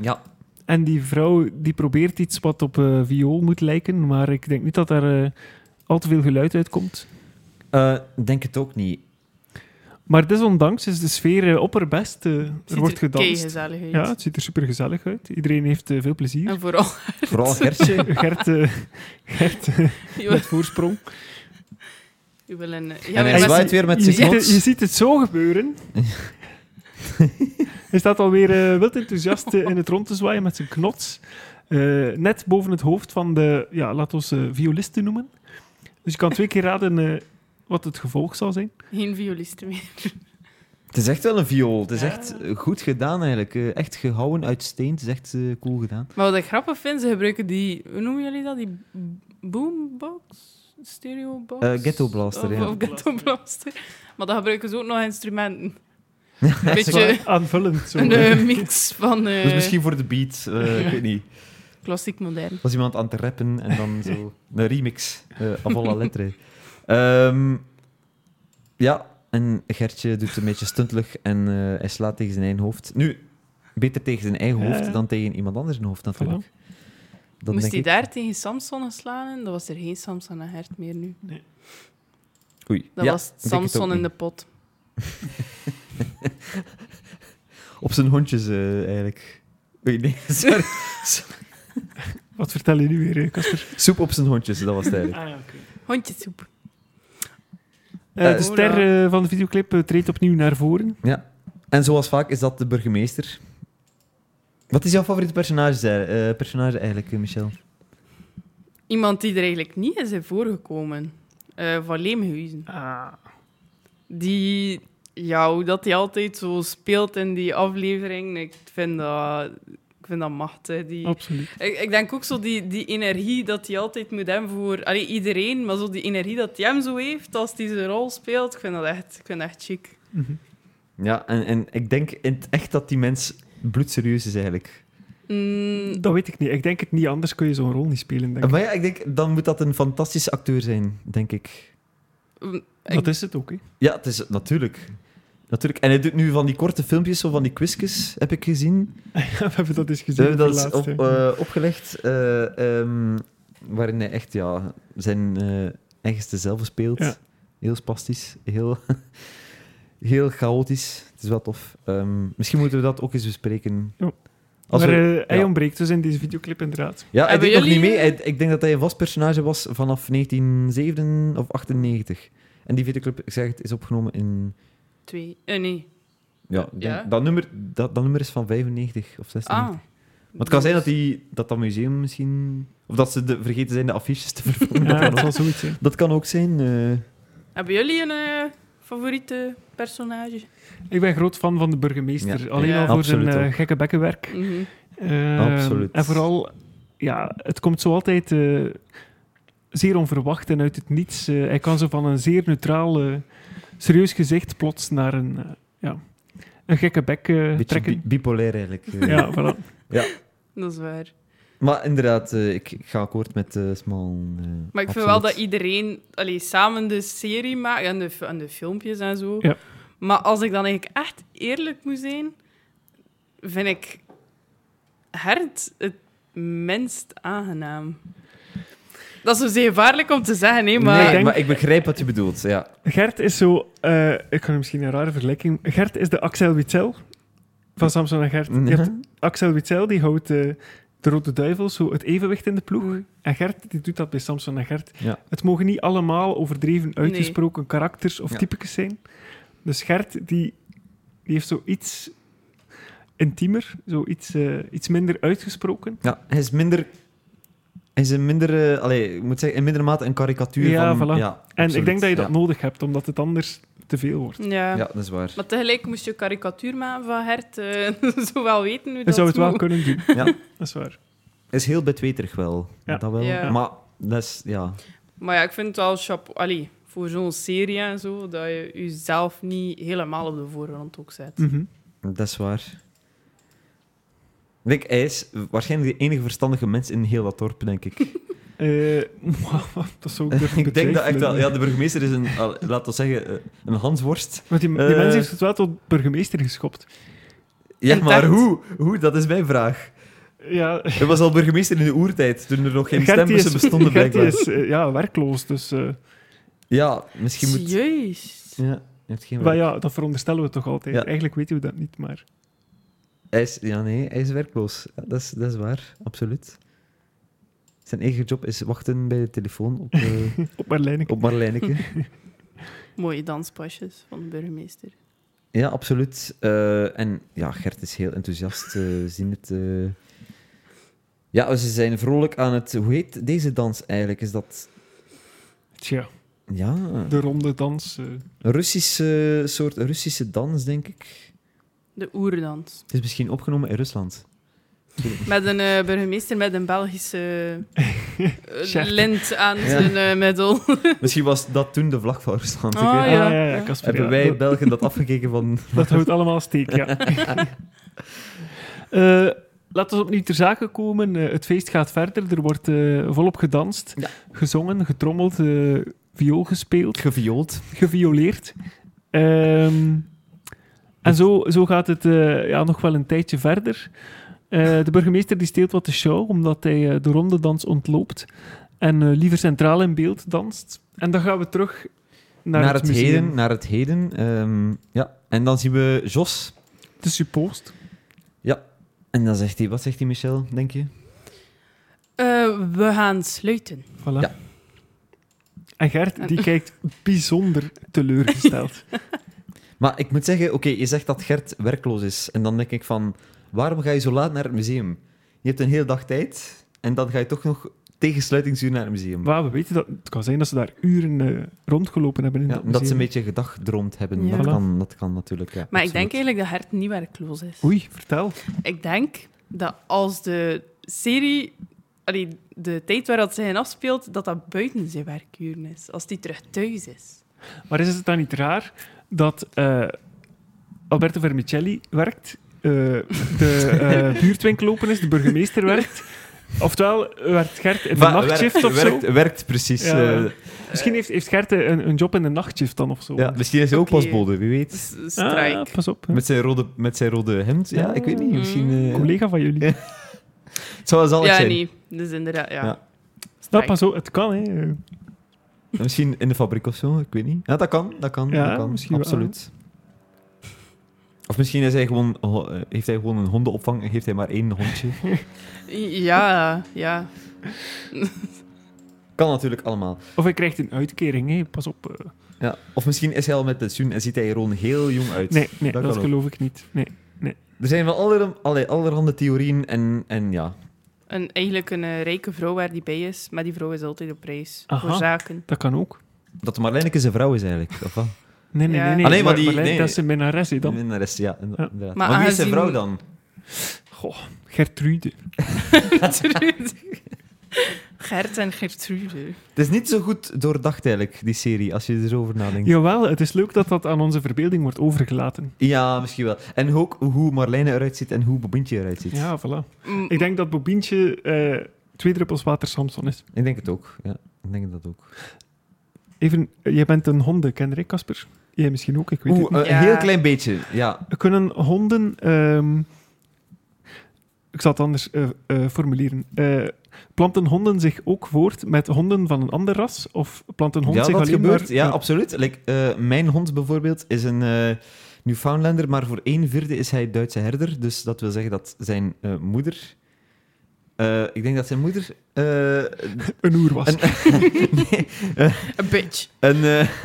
S2: Ja,
S1: En die vrouw die probeert iets wat op eh, viool moet lijken, maar ik denk niet dat daar eh, al te veel geluid uitkomt.
S2: eh, denk het ook niet.
S1: Maar desondanks is de sfeer eh, opperbest. eh,
S3: Ziet
S1: er wordt gedanst.
S3: keigezellig uit. Oh.
S1: Ja, het ziet er super gezellig uit. Iedereen heeft eh, veel plezier.
S3: En vooral,
S2: Vooral Gertje.
S1: Gert, eh, Gert eh,
S3: je wil,
S1: met voorsprong.
S3: je wil een... Ja,
S2: en
S3: maar
S1: met
S2: hij
S3: mensen-
S2: zwaait weer met
S1: Je
S2: zijn
S1: ziet, het, je
S2: knots.
S1: ziet het zo gebeuren. Hij staat alweer eh wild enthousiast eh, in het rond te zwaaien met zijn knots. Eh, net boven het hoofd van de, ja, laat ons eh violisten noemen. Dus je kan twee keer raden eh, wat het gevolg zal zijn.
S3: Geen violisten meer.
S2: Het is echt wel een viool. Het is
S3: Ja.
S2: echt eh, goed gedaan eigenlijk. Eh, Echt gehouden uit steen. Het is echt eh, cool gedaan.
S3: Maar wat ik grappig vind, ze gebruiken die... Hoe noemen jullie dat? Die b- boombox? Stereobox?
S2: Eh, ghetto blaster,
S3: of,
S2: ja.
S3: Of ghetto blaster. Maar dan gebruiken ze ook nog instrumenten.
S2: Ja,
S3: Een beetje
S1: Zwaar Aanvullend. Zo,
S3: een
S1: eh.
S3: eh, mix van eh,
S2: Dus misschien voor de beat, eh, ik weet niet.
S3: klassiek modern.
S2: Was iemand aan het rappen en dan zo een remix eh af alle letteren. Ehm, ja, en Gertje doet een beetje stuntelig en eh, hij slaat tegen zijn eigen hoofd. Nu, beter tegen zijn eigen
S1: Ja, ja.
S2: hoofd dan tegen iemand anders zijn hoofd natuurlijk. Dat
S3: Moest
S2: denk
S3: hij
S2: ik.
S3: daar tegen Samson slaan? Dan was er geen Samson en Hert meer nu.
S2: Oei,
S3: Dat
S2: ja,
S3: was
S2: ik denk het ook
S3: Samson in
S2: niet.
S3: de pot.
S2: Op zijn hondjes eh, eigenlijk. Oei, nee, sorry.
S1: Wat vertel je nu weer, eh, Casper?
S2: Soep op zijn hondjes, dat was het eigenlijk.
S1: Ah, ja,
S3: Hondjesoep.
S2: Eh,
S1: de ster eh, van de videoclip eh, treedt opnieuw naar voren.
S2: En zoals vaak is dat de burgemeester. Wat is jouw favoriete personage, eh, personage eigenlijk, eh, Michel?
S3: Iemand die er eigenlijk niet is in voorgekomen. Eh, van Leemhuizen. Die, ja, hoe dat hij altijd zo speelt in die aflevering. Ik vind dat, ik vind dat machtig. Die,
S1: Absoluut.
S3: ik, ik denk ook zo die, die energie dat hij altijd moet hebben voor allee, iedereen. Maar zo die energie dat hij hem zo heeft als hij zijn rol speelt. Ik vind dat echt, ik vind dat echt chic.
S1: Mhm.
S2: Ja, en, en ik denk in het echt dat die mens bloedserieus is eigenlijk.
S3: Mm,
S1: Dat weet ik niet. Ik denk het niet, anders kun je zo'n rol niet spelen. Denk ik.
S2: Ah, Maar ja, ik denk, dan moet dat een fantastische acteur zijn, denk ik.
S1: Dat is het ook. hè.
S2: Ja, het is natuurlijk. Natuurlijk. En hij doet nu van die korte filmpjes, zo van die quizjes, heb ik gezien.
S1: We hebben dat eens
S2: Ze
S1: gezien.
S2: hebben
S1: op de
S2: dat eens op,
S1: laatste.
S2: eh, opgelegd, eh, ehm, waarin hij echt ja, zijn eh eigenste zelf speelt.
S1: Ja.
S2: Heel spastisch, heel, heel chaotisch. Het is wel tof. Ehm, misschien moeten we dat ook eens bespreken.
S1: Ja.
S2: Als
S1: maar
S2: we-
S1: eh, hij
S2: ja.
S1: ontbreekt dus in deze videoclip inderdaad.
S2: Ja, hij
S3: Hebben
S2: deed nog niet
S3: jullie-
S2: mee. Hij- ik denk dat hij een vast personage was vanaf 1997 of 98. En die videoclip, ik zeg het, is opgenomen in...
S3: Twee. eh, nee.
S2: Ja, ik denk-
S3: Ja.
S2: Dat, nummer, dat, dat nummer is van 95 of 96.
S3: Ah.
S2: Maar het kan zijn dat, die, dat dat museum misschien... Of dat ze de, vergeten zijn de affiches te vervangen.
S1: Ja,
S2: dat,
S1: dat
S2: kan ook,
S1: was zoiets. hè.
S2: dat kan ook zijn. eh.
S3: Hebben jullie een eh, favoriete personage?
S1: Ik ben groot fan van de burgemeester.
S2: Ja.
S1: Alleen
S3: Ja.
S1: al voor zijn
S2: Absoluut
S1: eh,
S2: ook.
S1: gekke bekkenwerk.
S3: Mhm.
S1: Eh,
S2: Absoluut.
S1: En vooral, ja, het komt zo altijd eh, zeer onverwacht en uit het niets. Eh, hij kan zo van een zeer neutraal, eh, serieus gezicht plots naar een, eh, ja, een gekke bek eh,
S2: beetje
S1: trekken.
S2: bi- bipolair eigenlijk. eh.
S1: Ja, voilà.
S3: Dat is waar.
S2: Maar inderdaad, eh, ik, ik ga akkoord met eh Smal. eh,
S3: Maar ik vind
S2: absoluut.
S3: wel dat iedereen allee, samen de serie maakt en de, fi- en de filmpjes en zo.
S1: Ja.
S3: Maar als ik dan eigenlijk echt eerlijk moet zijn, vind ik Hert het minst aangenaam. Dat is dus gevaarlijk om te zeggen, hè, maar...
S2: Nee,
S1: Ik denk-
S2: maar ik begrijp wat je bedoelt. Ja.
S1: Gert is zo, eh, ik kan misschien een rare vergelijking. Gert is de Axel Witzel van Samson en Gert. Je hebt
S2: Mhm.
S1: Axel Witzel die houdt eh, de Rode Duivel zo het evenwicht in de ploeg. En Gert die doet dat bij Samson en Gert.
S2: Ja.
S1: Het mogen niet allemaal overdreven uitgesproken karakters of
S2: Ja.
S1: typetjes zijn. Dus Gert die, die heeft zoiets intiemer, zoiets eh, iets minder uitgesproken.
S2: Ja, hij is minder. Hij is een minder. eh, allee, ik moet zeggen, in minder mate een karikatuur.
S1: Ja,
S2: van,
S1: voilà.
S2: ja,
S1: En
S2: absoluut.
S1: ik denk dat je dat
S2: ja.
S1: nodig hebt, omdat het anders te veel wordt.
S3: Ja.
S2: Ja, dat is waar.
S3: Maar tegelijk moest je karikatuur maken van Hert. eh zo wel weten hoe
S1: Je
S3: dat
S1: zou het wel
S3: moet.
S1: kunnen doen,
S2: Ja,
S1: dat is waar.
S2: is heel betweterig wel.
S1: Ja.
S2: Dat wel.
S3: Ja.
S2: Maar dat is. Ja.
S3: Maar ja, ik vind het wel chapeau. Allee, voor zo'n serie en zo, dat je jezelf niet helemaal op de voorgrond ook zet.
S1: Mhm.
S2: Dat is waar. Ik denk, hij is waarschijnlijk de enige verstandige mens in heel dat dorp, denk ik.
S1: Eh, dat is ook durven
S2: ik denk dat echt
S1: betwijfelen.
S2: wel... Ja, de burgemeester is een, al- laten we zeggen, eh, een hansworst.
S1: Want die, die
S2: Eh.
S1: mens heeft het wel tot burgemeester geschopt.
S2: Ja,
S3: Ik
S2: maar
S3: dacht-
S2: hoe? Hoe? Dat is mijn vraag.
S1: Ja,
S2: Hij was al burgemeester in de oertijd, toen er nog geen
S1: Gert die
S2: stembussen
S1: is-
S2: bestonden,
S1: Gert die
S2: blijkbaar.
S1: is eh, ja, werkloos, dus... eh,
S2: Ja, misschien moet...
S3: Jezus.
S2: Ja, hij heeft geen
S1: maar
S2: werk.
S1: ja, dat veronderstellen we toch altijd.
S2: Ja.
S1: Eigenlijk weten we dat niet, maar...
S2: Hij is, ja, nee, hij is werkloos. Ja, dat, is, dat is waar, absoluut. Zijn eigen job is wachten bij de telefoon op, eh
S1: Op Marlijn.
S2: op Marlijneke.
S3: Mooie danspasjes van de burgemeester.
S2: Ja, absoluut. Eh, en ja, Gert is heel enthousiast. eh, we zien het. eh. Ja, ze zijn vrolijk aan het. Hoe heet deze dans eigenlijk? Is dat.
S1: Tja,
S2: Ja,
S1: de ronde dans. eh.
S2: een Russische soort Russische dans, denk ik.
S3: De oerdans.
S2: Het is misschien opgenomen in Rusland.
S3: Met een eh, burgemeester met een Belgische eh,
S1: Chef.
S3: lint aan
S2: Ja.
S3: zijn eh, middel.
S2: Misschien was dat toen de vlag van Rusland. ik
S3: Ah,
S2: weet-
S1: Ah, ja,
S3: ja.
S1: ja,
S3: Ja.
S1: Casper,
S2: Hebben
S1: ja.
S2: wij
S1: Dat-
S2: Belgen dat afgekeken van.
S1: Dat houdt allemaal steek, ja. Eh, laten we opnieuw ter zake komen. Eh, het feest gaat verder. Er wordt eh, volop gedanst,
S2: Ja.
S1: gezongen, getrommeld, eh, viool gespeeld.
S2: Geviold.
S1: gevioleerd. Ehm, en zo, zo gaat het eh, ja, nog wel een tijdje verder. Eh, de burgemeester die steelt wat de show, omdat hij eh, de rondedans ontloopt. En eh, liever centraal in beeld danst. En dan gaan we terug naar,
S2: Naar, het,
S1: museum.
S2: heden. Naar het heden. ehm, ja. En dan zien we Jos.
S1: De suppost.
S2: En dan zegt hij. Wat zegt hij, Michel, denk je?
S3: Eh, we gaan sluiten.
S1: Voilà.
S2: Ja.
S1: En Gert, die kijkt bijzonder teleurgesteld.
S2: Maar ik moet zeggen, oké, je zegt dat Gert werkloos is. En dan denk ik van, waarom ga je zo laat naar het museum? Je hebt een hele dag tijd en dan ga je toch nog tegen sluitingsuur naar het museum.
S1: maar we weten dat het kan zijn dat ze daar uren eh, rondgelopen hebben in
S2: Ja,
S1: dat
S2: omdat ze
S1: museum.
S2: een beetje gedagdroomd hebben.
S3: Ja.
S2: Dat,
S1: Voilà.
S2: kan, dat kan natuurlijk. Ja,
S3: Maar ik
S2: absoluut.
S3: denk eigenlijk dat Hert niet werkloos is.
S1: Oei, vertel.
S3: Ik denk dat als de serie, allee, de tijd waar dat zich in afspeelt, dat dat buiten zijn werkuren is. Als die terug thuis is.
S1: Maar is het dan niet raar dat eh, Alberto Vermicelli werkt, eh, de eh, buurtwinkel open is, de burgemeester werkt? Oftewel werkt Gert in de
S2: Wa-
S1: nachtshift
S2: werkt,
S1: of zo?
S2: werkt, werkt precies.
S1: Ja.
S2: eh,
S1: Misschien heeft, heeft Gert een, een job in de nachtshift dan of zo.
S2: ja, misschien is hij
S3: Oké.
S2: ook pasbode, wie
S3: Dat
S2: weet.
S3: is een strijk. Mm-hmm.
S1: Ah, pas op. hè.
S2: Met zijn rode, met zijn rode hemd. Ja, ik weet niet. Misschien. eh,
S1: collega van jullie.
S2: Ja. het zou wel zalig
S3: Mm. ja,
S2: zijn.
S3: nee. Dus inderdaad, ja.
S2: Ja.
S1: Nou,
S3: Strijk.
S1: pas op, het kan. Hè.
S2: Misschien in de fabriek of zo, ik weet niet. Ja, dat kan, dat kan,
S1: Ja,
S2: dat kan.
S1: misschien wel.
S2: absoluut. Of misschien is hij gewoon, ho- eh, heeft hij gewoon een hondenopvang en heeft hij maar één hondje.
S3: Ja, ja.
S2: kan natuurlijk allemaal.
S1: Of hij krijgt een uitkering, hè? pas op. eh.
S2: Ja. Of misschien is hij al met pensioen en ziet hij er gewoon heel jong uit.
S1: Nee, nee
S2: Dat
S1: dat,
S2: kan ook.
S1: geloof ik niet. Nee.
S2: Er zijn wel allerlei, allerlei- allerhande theorieën en, en ja.
S3: En eigenlijk een eh, rijke vrouw waar die bij is, maar die vrouw is altijd op reis.
S1: Aha.
S3: Voor zaken.
S1: Dat kan ook.
S2: Dat Marlijneke zijn vrouw is eigenlijk. Of wat?
S1: Nee, nee,
S3: Ja.
S1: nee. nee.
S2: Ah, nee, maar
S1: Mar-
S2: die-
S1: Marlijn,
S2: nee.
S1: Dat is een minnares, hè, dan.
S2: Minnares, ja. in-
S1: Ja.
S2: Inderdaad. Maar,
S3: Maar
S2: wie is zijn vrouw
S3: aangezien-
S2: dan?
S1: Gertrude.
S3: Gertrude. Gert en Gertrude.
S2: Het is niet zo goed doordacht eigenlijk, die serie, als je er zo over nadenkt. Ja,
S1: Jawel, het is leuk dat dat aan onze verbeelding wordt overgelaten.
S2: misschien wel. En ook hoe Marlijne eruit ziet en hoe Bobintje eruit ziet.
S1: Ja, voilà.
S3: Mm,
S1: Ik denk dat Bobientje eh, twee druppels water Samson is.
S2: Ik denk het ook. Ja, ik denk dat ook.
S1: Even, eh, jij bent een hondenkender, hè, Casper? Jij misschien ook, ik weet het
S2: Oeh,
S1: niet.
S2: een
S3: Ja.
S2: heel klein beetje. Ja,
S1: Kunnen honden... ehm, ik zal het anders eh, eh, formuleren. Eh, planten honden zich ook voort met honden van een ander ras? Of planten honden
S2: ja
S1: zich
S2: dat
S1: alleen
S2: gebeurt.
S1: maar...
S2: Ja, absoluut. Like, eh, mijn hond bijvoorbeeld is een eh, Newfoundlander, maar voor een vierde is hij Duitse herder. Dus dat wil zeggen dat zijn eh, moeder... eh, ik denk dat zijn moeder... eh,
S1: een oer was.
S2: Een- nee,
S3: Een bitch.
S2: een, eh,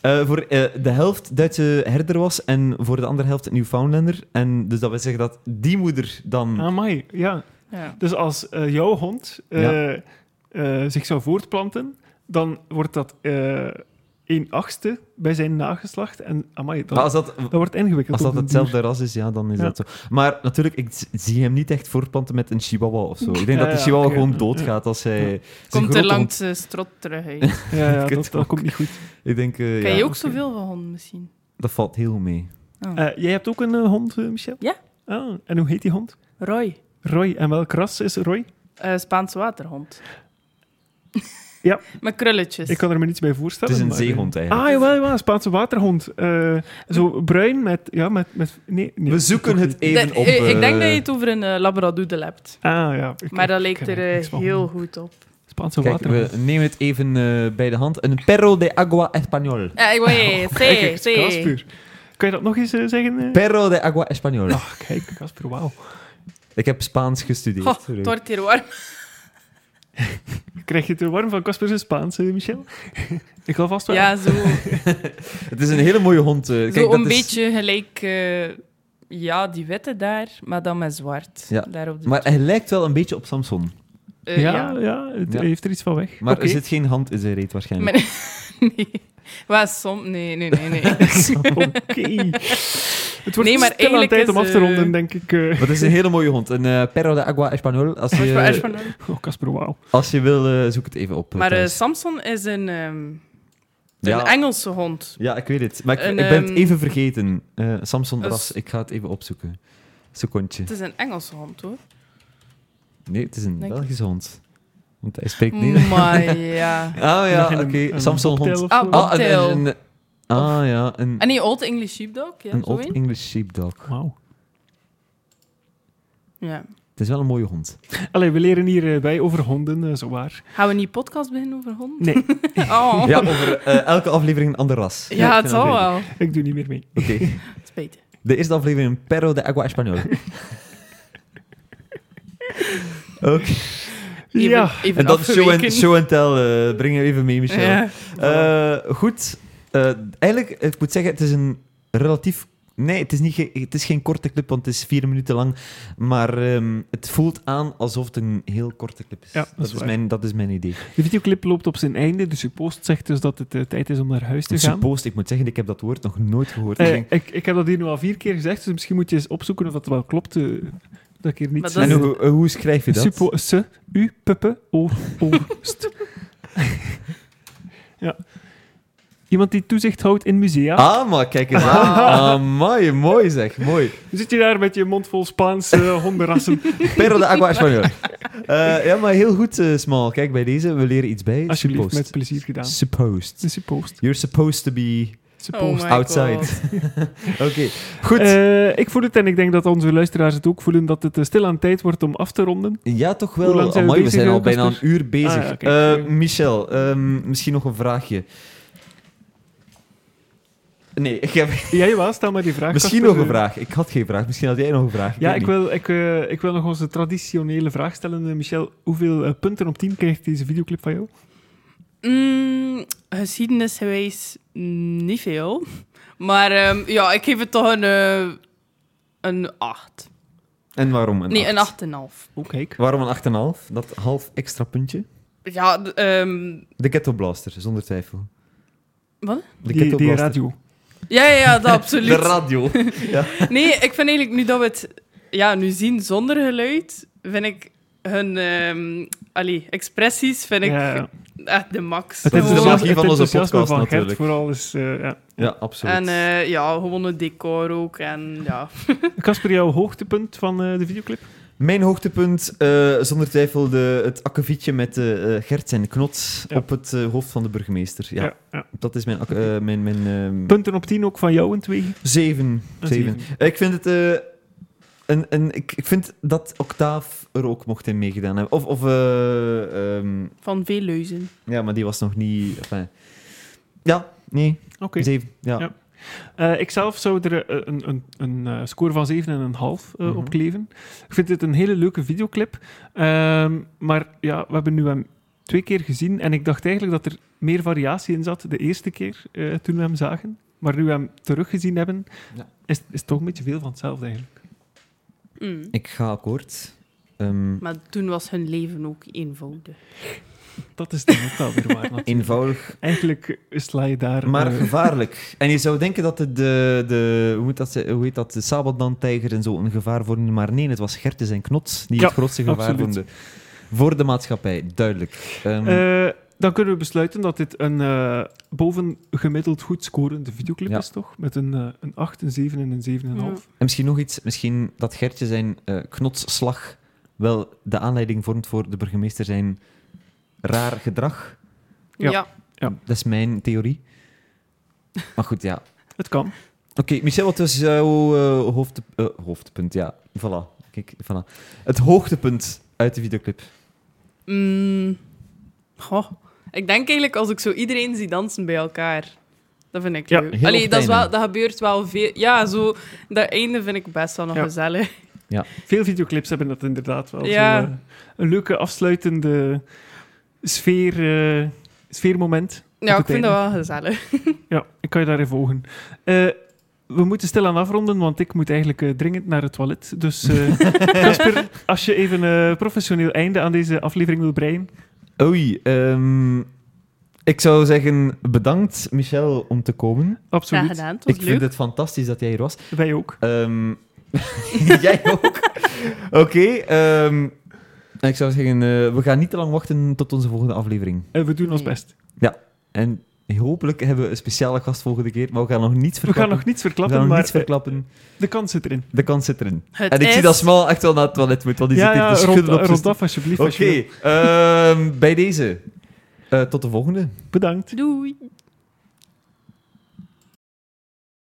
S2: eh, voor eh, de helft Duitse herder was en voor de andere helft Newfoundlander. En dus dat wil zeggen dat die moeder dan...
S1: Amai, ja.
S3: Ja.
S1: Dus als eh, jouw hond eh, eh, zich zou voortplanten, dan wordt dat eh 1 achtste bij zijn nageslacht. En amai, dat,
S2: Maar als dat,
S1: dat wordt ingewikkeld.
S2: als dat
S1: op den
S2: hetzelfde ras is, ja, dan is
S1: Ja.
S2: dat zo. Maar natuurlijk, ik z- zie hem niet echt voortplanten met een chihuahua of zo. Ik denk
S1: Ja,
S2: dat de
S1: ja,
S2: chihuahua
S1: oké.
S2: gewoon doodgaat als hij...
S1: Ja.
S2: het is een
S3: Komt
S2: grote
S3: er
S2: hond.
S3: langs eh, strot terug uit.
S1: duur. Ja, ja,
S2: Ik
S1: dat,
S2: het
S1: dat
S2: ook.
S1: komt niet goed.
S2: Ik denk, eh,
S3: Ken
S2: ja,
S3: je ook
S1: oké.
S3: zoveel van honden misschien?
S2: dat valt heel mee.
S1: Eh, jij hebt ook een eh, hond, eh, Michel?
S3: Ja.
S1: Ah, en hoe heet die hond?
S3: Roy,
S1: Roy. En welk ras is Roy?
S3: eh, Spaanse waterhond.
S1: Ja.
S3: Met krulletjes.
S1: Ik kan er me niets bij
S2: Het
S1: voorstellen.
S2: is een
S1: maar, eh,
S2: zeehond eigenlijk.
S1: Ah, jawel, jawel, een Spaanse waterhond. Eh, zo bruin met... Ja, met, met nee, nee,
S2: We zoeken
S1: toch
S2: het
S1: niet.
S2: even
S3: Dat-
S2: op.
S3: eh, ik denk
S2: eh,
S3: dat je het over een eh, labradoodle hebt.
S1: Ah, ja. ik-
S3: Maar dat
S1: ik
S3: leek
S1: ken
S3: er
S1: er
S3: eh,
S1: niks van.
S3: heel goed op.
S1: Spaanse
S2: Kijk,
S1: waterhond.
S2: we nemen het even eh, bij de hand. Een perro de agua español.
S3: Eh, wait,
S1: Oh, Kijk,
S3: see,
S1: eens, Casper. Kan je dat nog eens eh, zeggen? eh?
S2: Perro de agua español.
S1: Ah, kijk, Casper, wauw.
S2: Ik heb Spaans gestudeerd.
S3: Goh, het wordt hier warm.
S1: Krijg je het er warm van Casper zijn Spaans, eh, Michel? ik ga vast wel.
S3: Ja, zo,
S2: Het is een hele mooie hond. eh. Kijk,
S3: zo
S2: dat
S3: een
S2: is-
S3: beetje gelijk... eh, ja, die witte daar, maar dan met zwart.
S2: Ja,
S3: Daar op de
S2: Maar hij lijkt wel een beetje op Samson.
S3: Eh,
S1: ja,
S3: ja.
S1: ja, het
S2: Ja.
S1: heeft er iets van weg.
S2: Maar
S1: Oké.
S2: er zit geen hand in zijn reet waarschijnlijk.
S3: Maar- nee. Wat, som... Nee, nee, nee, nee.
S1: Oké. Het wordt
S3: Nee, maar
S1: stilaan
S3: eigenlijk
S1: tijd
S3: is,
S1: om af te
S3: eh,
S1: ronden, denk ik. eh.
S2: Maar het is een hele mooie hond. Een eh, perro de agua español. Als
S3: Wat voor aard
S2: je,
S3: van hond?
S1: Oh, Casper, wauw.
S2: als je wil, eh, zoek het even op. eh,
S3: Maar eh,
S2: thuis.
S3: Samson is een, ehm, een
S2: ja,
S3: Engelse hond.
S2: ja, ik weet het. Maar ik,
S3: Een,
S2: ik ben het
S3: ehm,
S2: even vergeten. Eh, Samson
S3: een
S2: Ras,
S3: s-
S2: ik ga het even opzoeken. Secondje.
S3: Het is een Engelse hond, hoor.
S2: Nee, het is een
S3: Denk-
S2: Belgische hond. Want hij spreekt
S3: Mm.
S2: niet.
S3: Maar ja.
S2: Ah
S1: Nog
S2: ja,
S1: een-
S2: oké.
S1: een
S2: Samson
S1: cocktail
S2: hond.
S1: of zo.
S3: Ah,
S2: Ah, een,
S3: cocktail.
S2: een, een- ah ja, een,
S3: En die Old English Sheepdog, ja,
S2: een
S3: zo
S2: Old
S3: een.
S2: English Sheepdog.
S1: Wauw.
S3: Ja.
S2: Het is wel een mooie hond.
S1: Allee, we leren hier eh, bij over honden, eh, zo waar.
S3: Gaan we niet podcast beginnen over honden?
S1: Nee,
S3: Oh.
S2: Ja, over eh, elke aflevering een ander ras.
S3: Ja,
S2: ik vind
S3: het zal
S2: leuk.
S3: wel.
S1: ik doe niet meer mee.
S2: Oké,
S3: Spijtig.
S2: de eerste aflevering Perro de Agua Español. Oké,
S3: Even,
S1: Ja.
S3: even
S2: en dat is show
S3: afgeweken.
S2: and, show and tell. eh, breng je even mee, Michel.
S3: Ja.
S2: Eh, goed. Eh, eigenlijk, ik moet zeggen, het is een relatief... Nee, het is, niet ge- het is geen korte clip, want het is vier minuten lang. Maar ehm, het voelt aan alsof het een heel korte clip is.
S1: Ja, dat is waar.
S2: mijn, dat is mijn idee.
S1: De videoclip loopt op zijn einde, dus je post zegt dus dat het eh, tijd is om naar huis te
S2: Dus
S1: gaan.
S2: supposed, ik moet zeggen, ik heb dat woord nog nooit gehoord.
S1: Eh,
S2: Ik denk-
S1: ik, ik heb dat hier nu al vier keer gezegd, dus misschien moet je eens opzoeken of dat wel klopt. eh, dat ik hier niet
S3: Maar dat
S2: en
S1: zeg.
S3: is-
S2: hoe, eh, hoe schrijf je dat?
S1: Suppo, se, u, puppe, o, o, st. ja. Iemand die toezicht houdt in musea.
S2: Ah, maar kijk eens aan.
S3: Ah.
S2: Amai, mooi zeg, mooi.
S1: Zit je daar met je mond vol Spaanse hondenrassen?
S2: Perro de Agua Español. Eh, ja, maar heel goed, eh, Smal. Kijk, bij deze, we leren iets bij.
S1: Alsjeblieft, met
S2: supposed.
S1: plezier gedaan.
S2: Supposed.
S1: Is je post.
S2: You're supposed to be
S3: Oh my
S2: outside.
S3: God.
S2: Oké, goed.
S1: Eh, ik voel het en ik denk dat onze luisteraars het ook voelen dat het stil stilaan tijd wordt om af te ronden.
S2: ja, toch
S1: hoe lang
S2: wel.
S1: zijn we
S2: Amai, we
S1: bezig,
S2: zijn al
S1: eh,
S2: bijna een
S1: Casper?
S2: uur bezig.
S1: Ah, ja, oké.
S2: Eh, Michel, ehm, misschien nog een vraagje. Nee, ik heb
S1: Jij wel, stel maar die vraag.
S2: misschien nog
S1: Casper.
S2: een vraag. Ik had geen vraag. Misschien had jij nog een vraag.
S1: Ja,
S2: weet
S1: ik
S2: niet.
S1: wil, ik, eh, ik wil nog onze traditionele vraag stellen. eh, Michel, hoeveel eh, punten op 10 krijgt deze videoclip van jou?
S3: Mm, geschiedenis geweest mm, niet veel. Maar ehm, ja, ik geef het toch een, eh, een 8.
S2: En waarom een
S3: nee,
S2: acht?
S3: een 8,5.
S1: Oh, kijk.
S2: Waarom een 8,5? Dat half extra puntje.
S3: Ja, d- ehm,
S2: De Ghetto Blaster, zonder twijfel.
S3: Wat?
S2: De
S1: die,
S2: Ghetto
S1: die
S2: Blaster.
S1: radio.
S3: ja, ja, ja, dat
S2: De
S3: absoluut.
S2: radio.
S3: Nee, ik vind eigenlijk nu dat we het ja, nu zien zonder geluid, vind ik hun ehm, allee, expressies vind ik
S1: Ja, ja.
S3: echt de max.
S1: Het
S2: is de
S3: Gewoon-
S2: magie
S1: enthousiasme-
S2: van
S1: het
S2: onze
S1: enthousiasme
S2: podcast
S1: van Gert
S2: natuurlijk.
S1: vooral is... eh, ja.
S2: Ja, absoluut.
S3: En eh, ja, gewoon het decor ook. En ja,
S1: Casper, jouw hoogtepunt van eh, de videoclip?
S2: Mijn hoogtepunt, eh, zonder twijfel, de, het akkefietje met eh, eh, Gert zijn knot
S1: Ja.
S2: op het eh, hoofd van de burgemeester. Ja,
S1: ja.
S2: dat is mijn... ak- eh, mijn, mijn ehm,
S1: Punten op 10 ook van jou en twee.
S2: Zeven.
S1: Een
S2: Zeven.
S1: zeven.
S2: Ik vind het... eh, een, een, ik, ik vind dat Octaaf er ook mocht in meegedaan hebben. Of... of eh, ehm,
S3: van veel leuzen.
S2: ja, maar die was nog niet... enfin, ja, nee.
S1: Oké.
S2: Zeven. Ja.
S1: Ja. Eh, ik zelf zou er eh, een, een, een eh, score van 7,5 eh,
S2: Mhm.
S1: op kleven. Ik vind dit een hele leuke videoclip. Ehm, maar ja, we hebben nu hem twee keer gezien. En ik dacht eigenlijk dat er meer variatie in zat de eerste keer eh, toen we hem zagen. Maar nu we hem teruggezien hebben,
S2: Ja.
S1: is, is het toch een beetje veel van hetzelfde eigenlijk.
S3: Mm.
S2: Ik ga akkoord. Ehm,
S3: Maar toen was hun leven ook eenvoudig.
S1: Dat is dan ook wel weer waar. natuurlijk.
S2: eenvoudig,
S1: Eigenlijk sla je daar...
S2: maar
S1: eh,
S2: gevaarlijk. En je zou denken dat het de, de, hoe, moet dat, ze- hoe heet dat, de sabeltandtijger en zo een gevaar vormden. Maar nee, het was Gert en Knots die
S1: Ja,
S2: het grootste gevaar
S1: absoluut.
S2: vormden. Voor de maatschappij, duidelijk. Ehm,
S1: Eh, dan kunnen we besluiten dat dit een eh, bovengemiddeld goed scorende videoclip
S2: Ja.
S1: is, toch? Met een, eh, een 8, een 7 en een 7,5.
S2: En misschien nog iets, misschien dat Gertje zijn eh, knotsslag wel de aanleiding vormt voor de burgemeester zijn raar gedrag.
S1: Ja.
S3: Ja.
S1: Ja.
S2: Dat is mijn theorie. Maar goed, ja.
S1: Het kan.
S2: Oké, Michel, wat was jouw eh, hoofd, eh, hoofdpunt? Ja, voilà. Kijk, voilà. Het hoogtepunt uit de videoclip.
S3: Mm. Goh. Ik denk eigenlijk als ik zo iedereen zie dansen bij elkaar. Dat vind ik
S1: Ja,
S3: leuk.
S2: heel op
S3: Allee,
S2: het
S3: dat, is wel,
S2: einde.
S3: dat gebeurt wel veel. Ja, zo, dat einde vind ik best wel nog
S1: Ja.
S3: gezellig.
S1: Veel videoclips hebben dat inderdaad wel.
S3: Ja.
S1: Zo, eh, een leuke afsluitende sfeer, eh, sfeermoment.
S3: Ja,
S1: Op
S3: ik
S1: het
S3: vind
S1: einde.
S3: dat wel gezellig.
S1: Ja, ik kan je daarin volgen. Eh, we moeten stilaan afronden, want ik moet eigenlijk eh, dringend naar het toilet. Dus eh, Casper, als je even een professioneel einde aan deze aflevering wil breien.
S2: Oei, ehm, ik zou zeggen bedankt, Michel, om te komen.
S3: Graag
S1: Absoluut.
S3: gedaan, het was
S2: Ik
S3: leuk.
S2: vind het fantastisch dat jij hier was.
S1: Wij ook.
S2: Ehm, jij ook. Oké. ehm, ik zou zeggen, eh, we gaan niet te lang wachten tot onze volgende aflevering.
S1: Eh, we doen ons
S3: Nee.
S1: best.
S2: En hopelijk hebben we een speciale gast volgende keer, maar we gaan nog niets
S1: We gaan
S2: verklappen.
S1: nog niets
S2: We
S1: verklappen,
S2: gaan nog
S1: maar
S2: niets verklappen.
S1: eh, de kans zit erin.
S2: De kans zit erin.
S3: Het
S2: en ik
S3: is-
S2: zie dat Smal echt wel naar het toilet moet, want die
S1: ja,
S2: zit hier
S1: ja,
S2: te
S1: rond, eh,
S2: schudden op zijn
S1: rond af alsjeblieft.
S2: stoel.
S1: als je
S2: Oké, ehm, bij deze. Eh, tot de volgende.
S1: wil. Bedankt.
S3: Doei.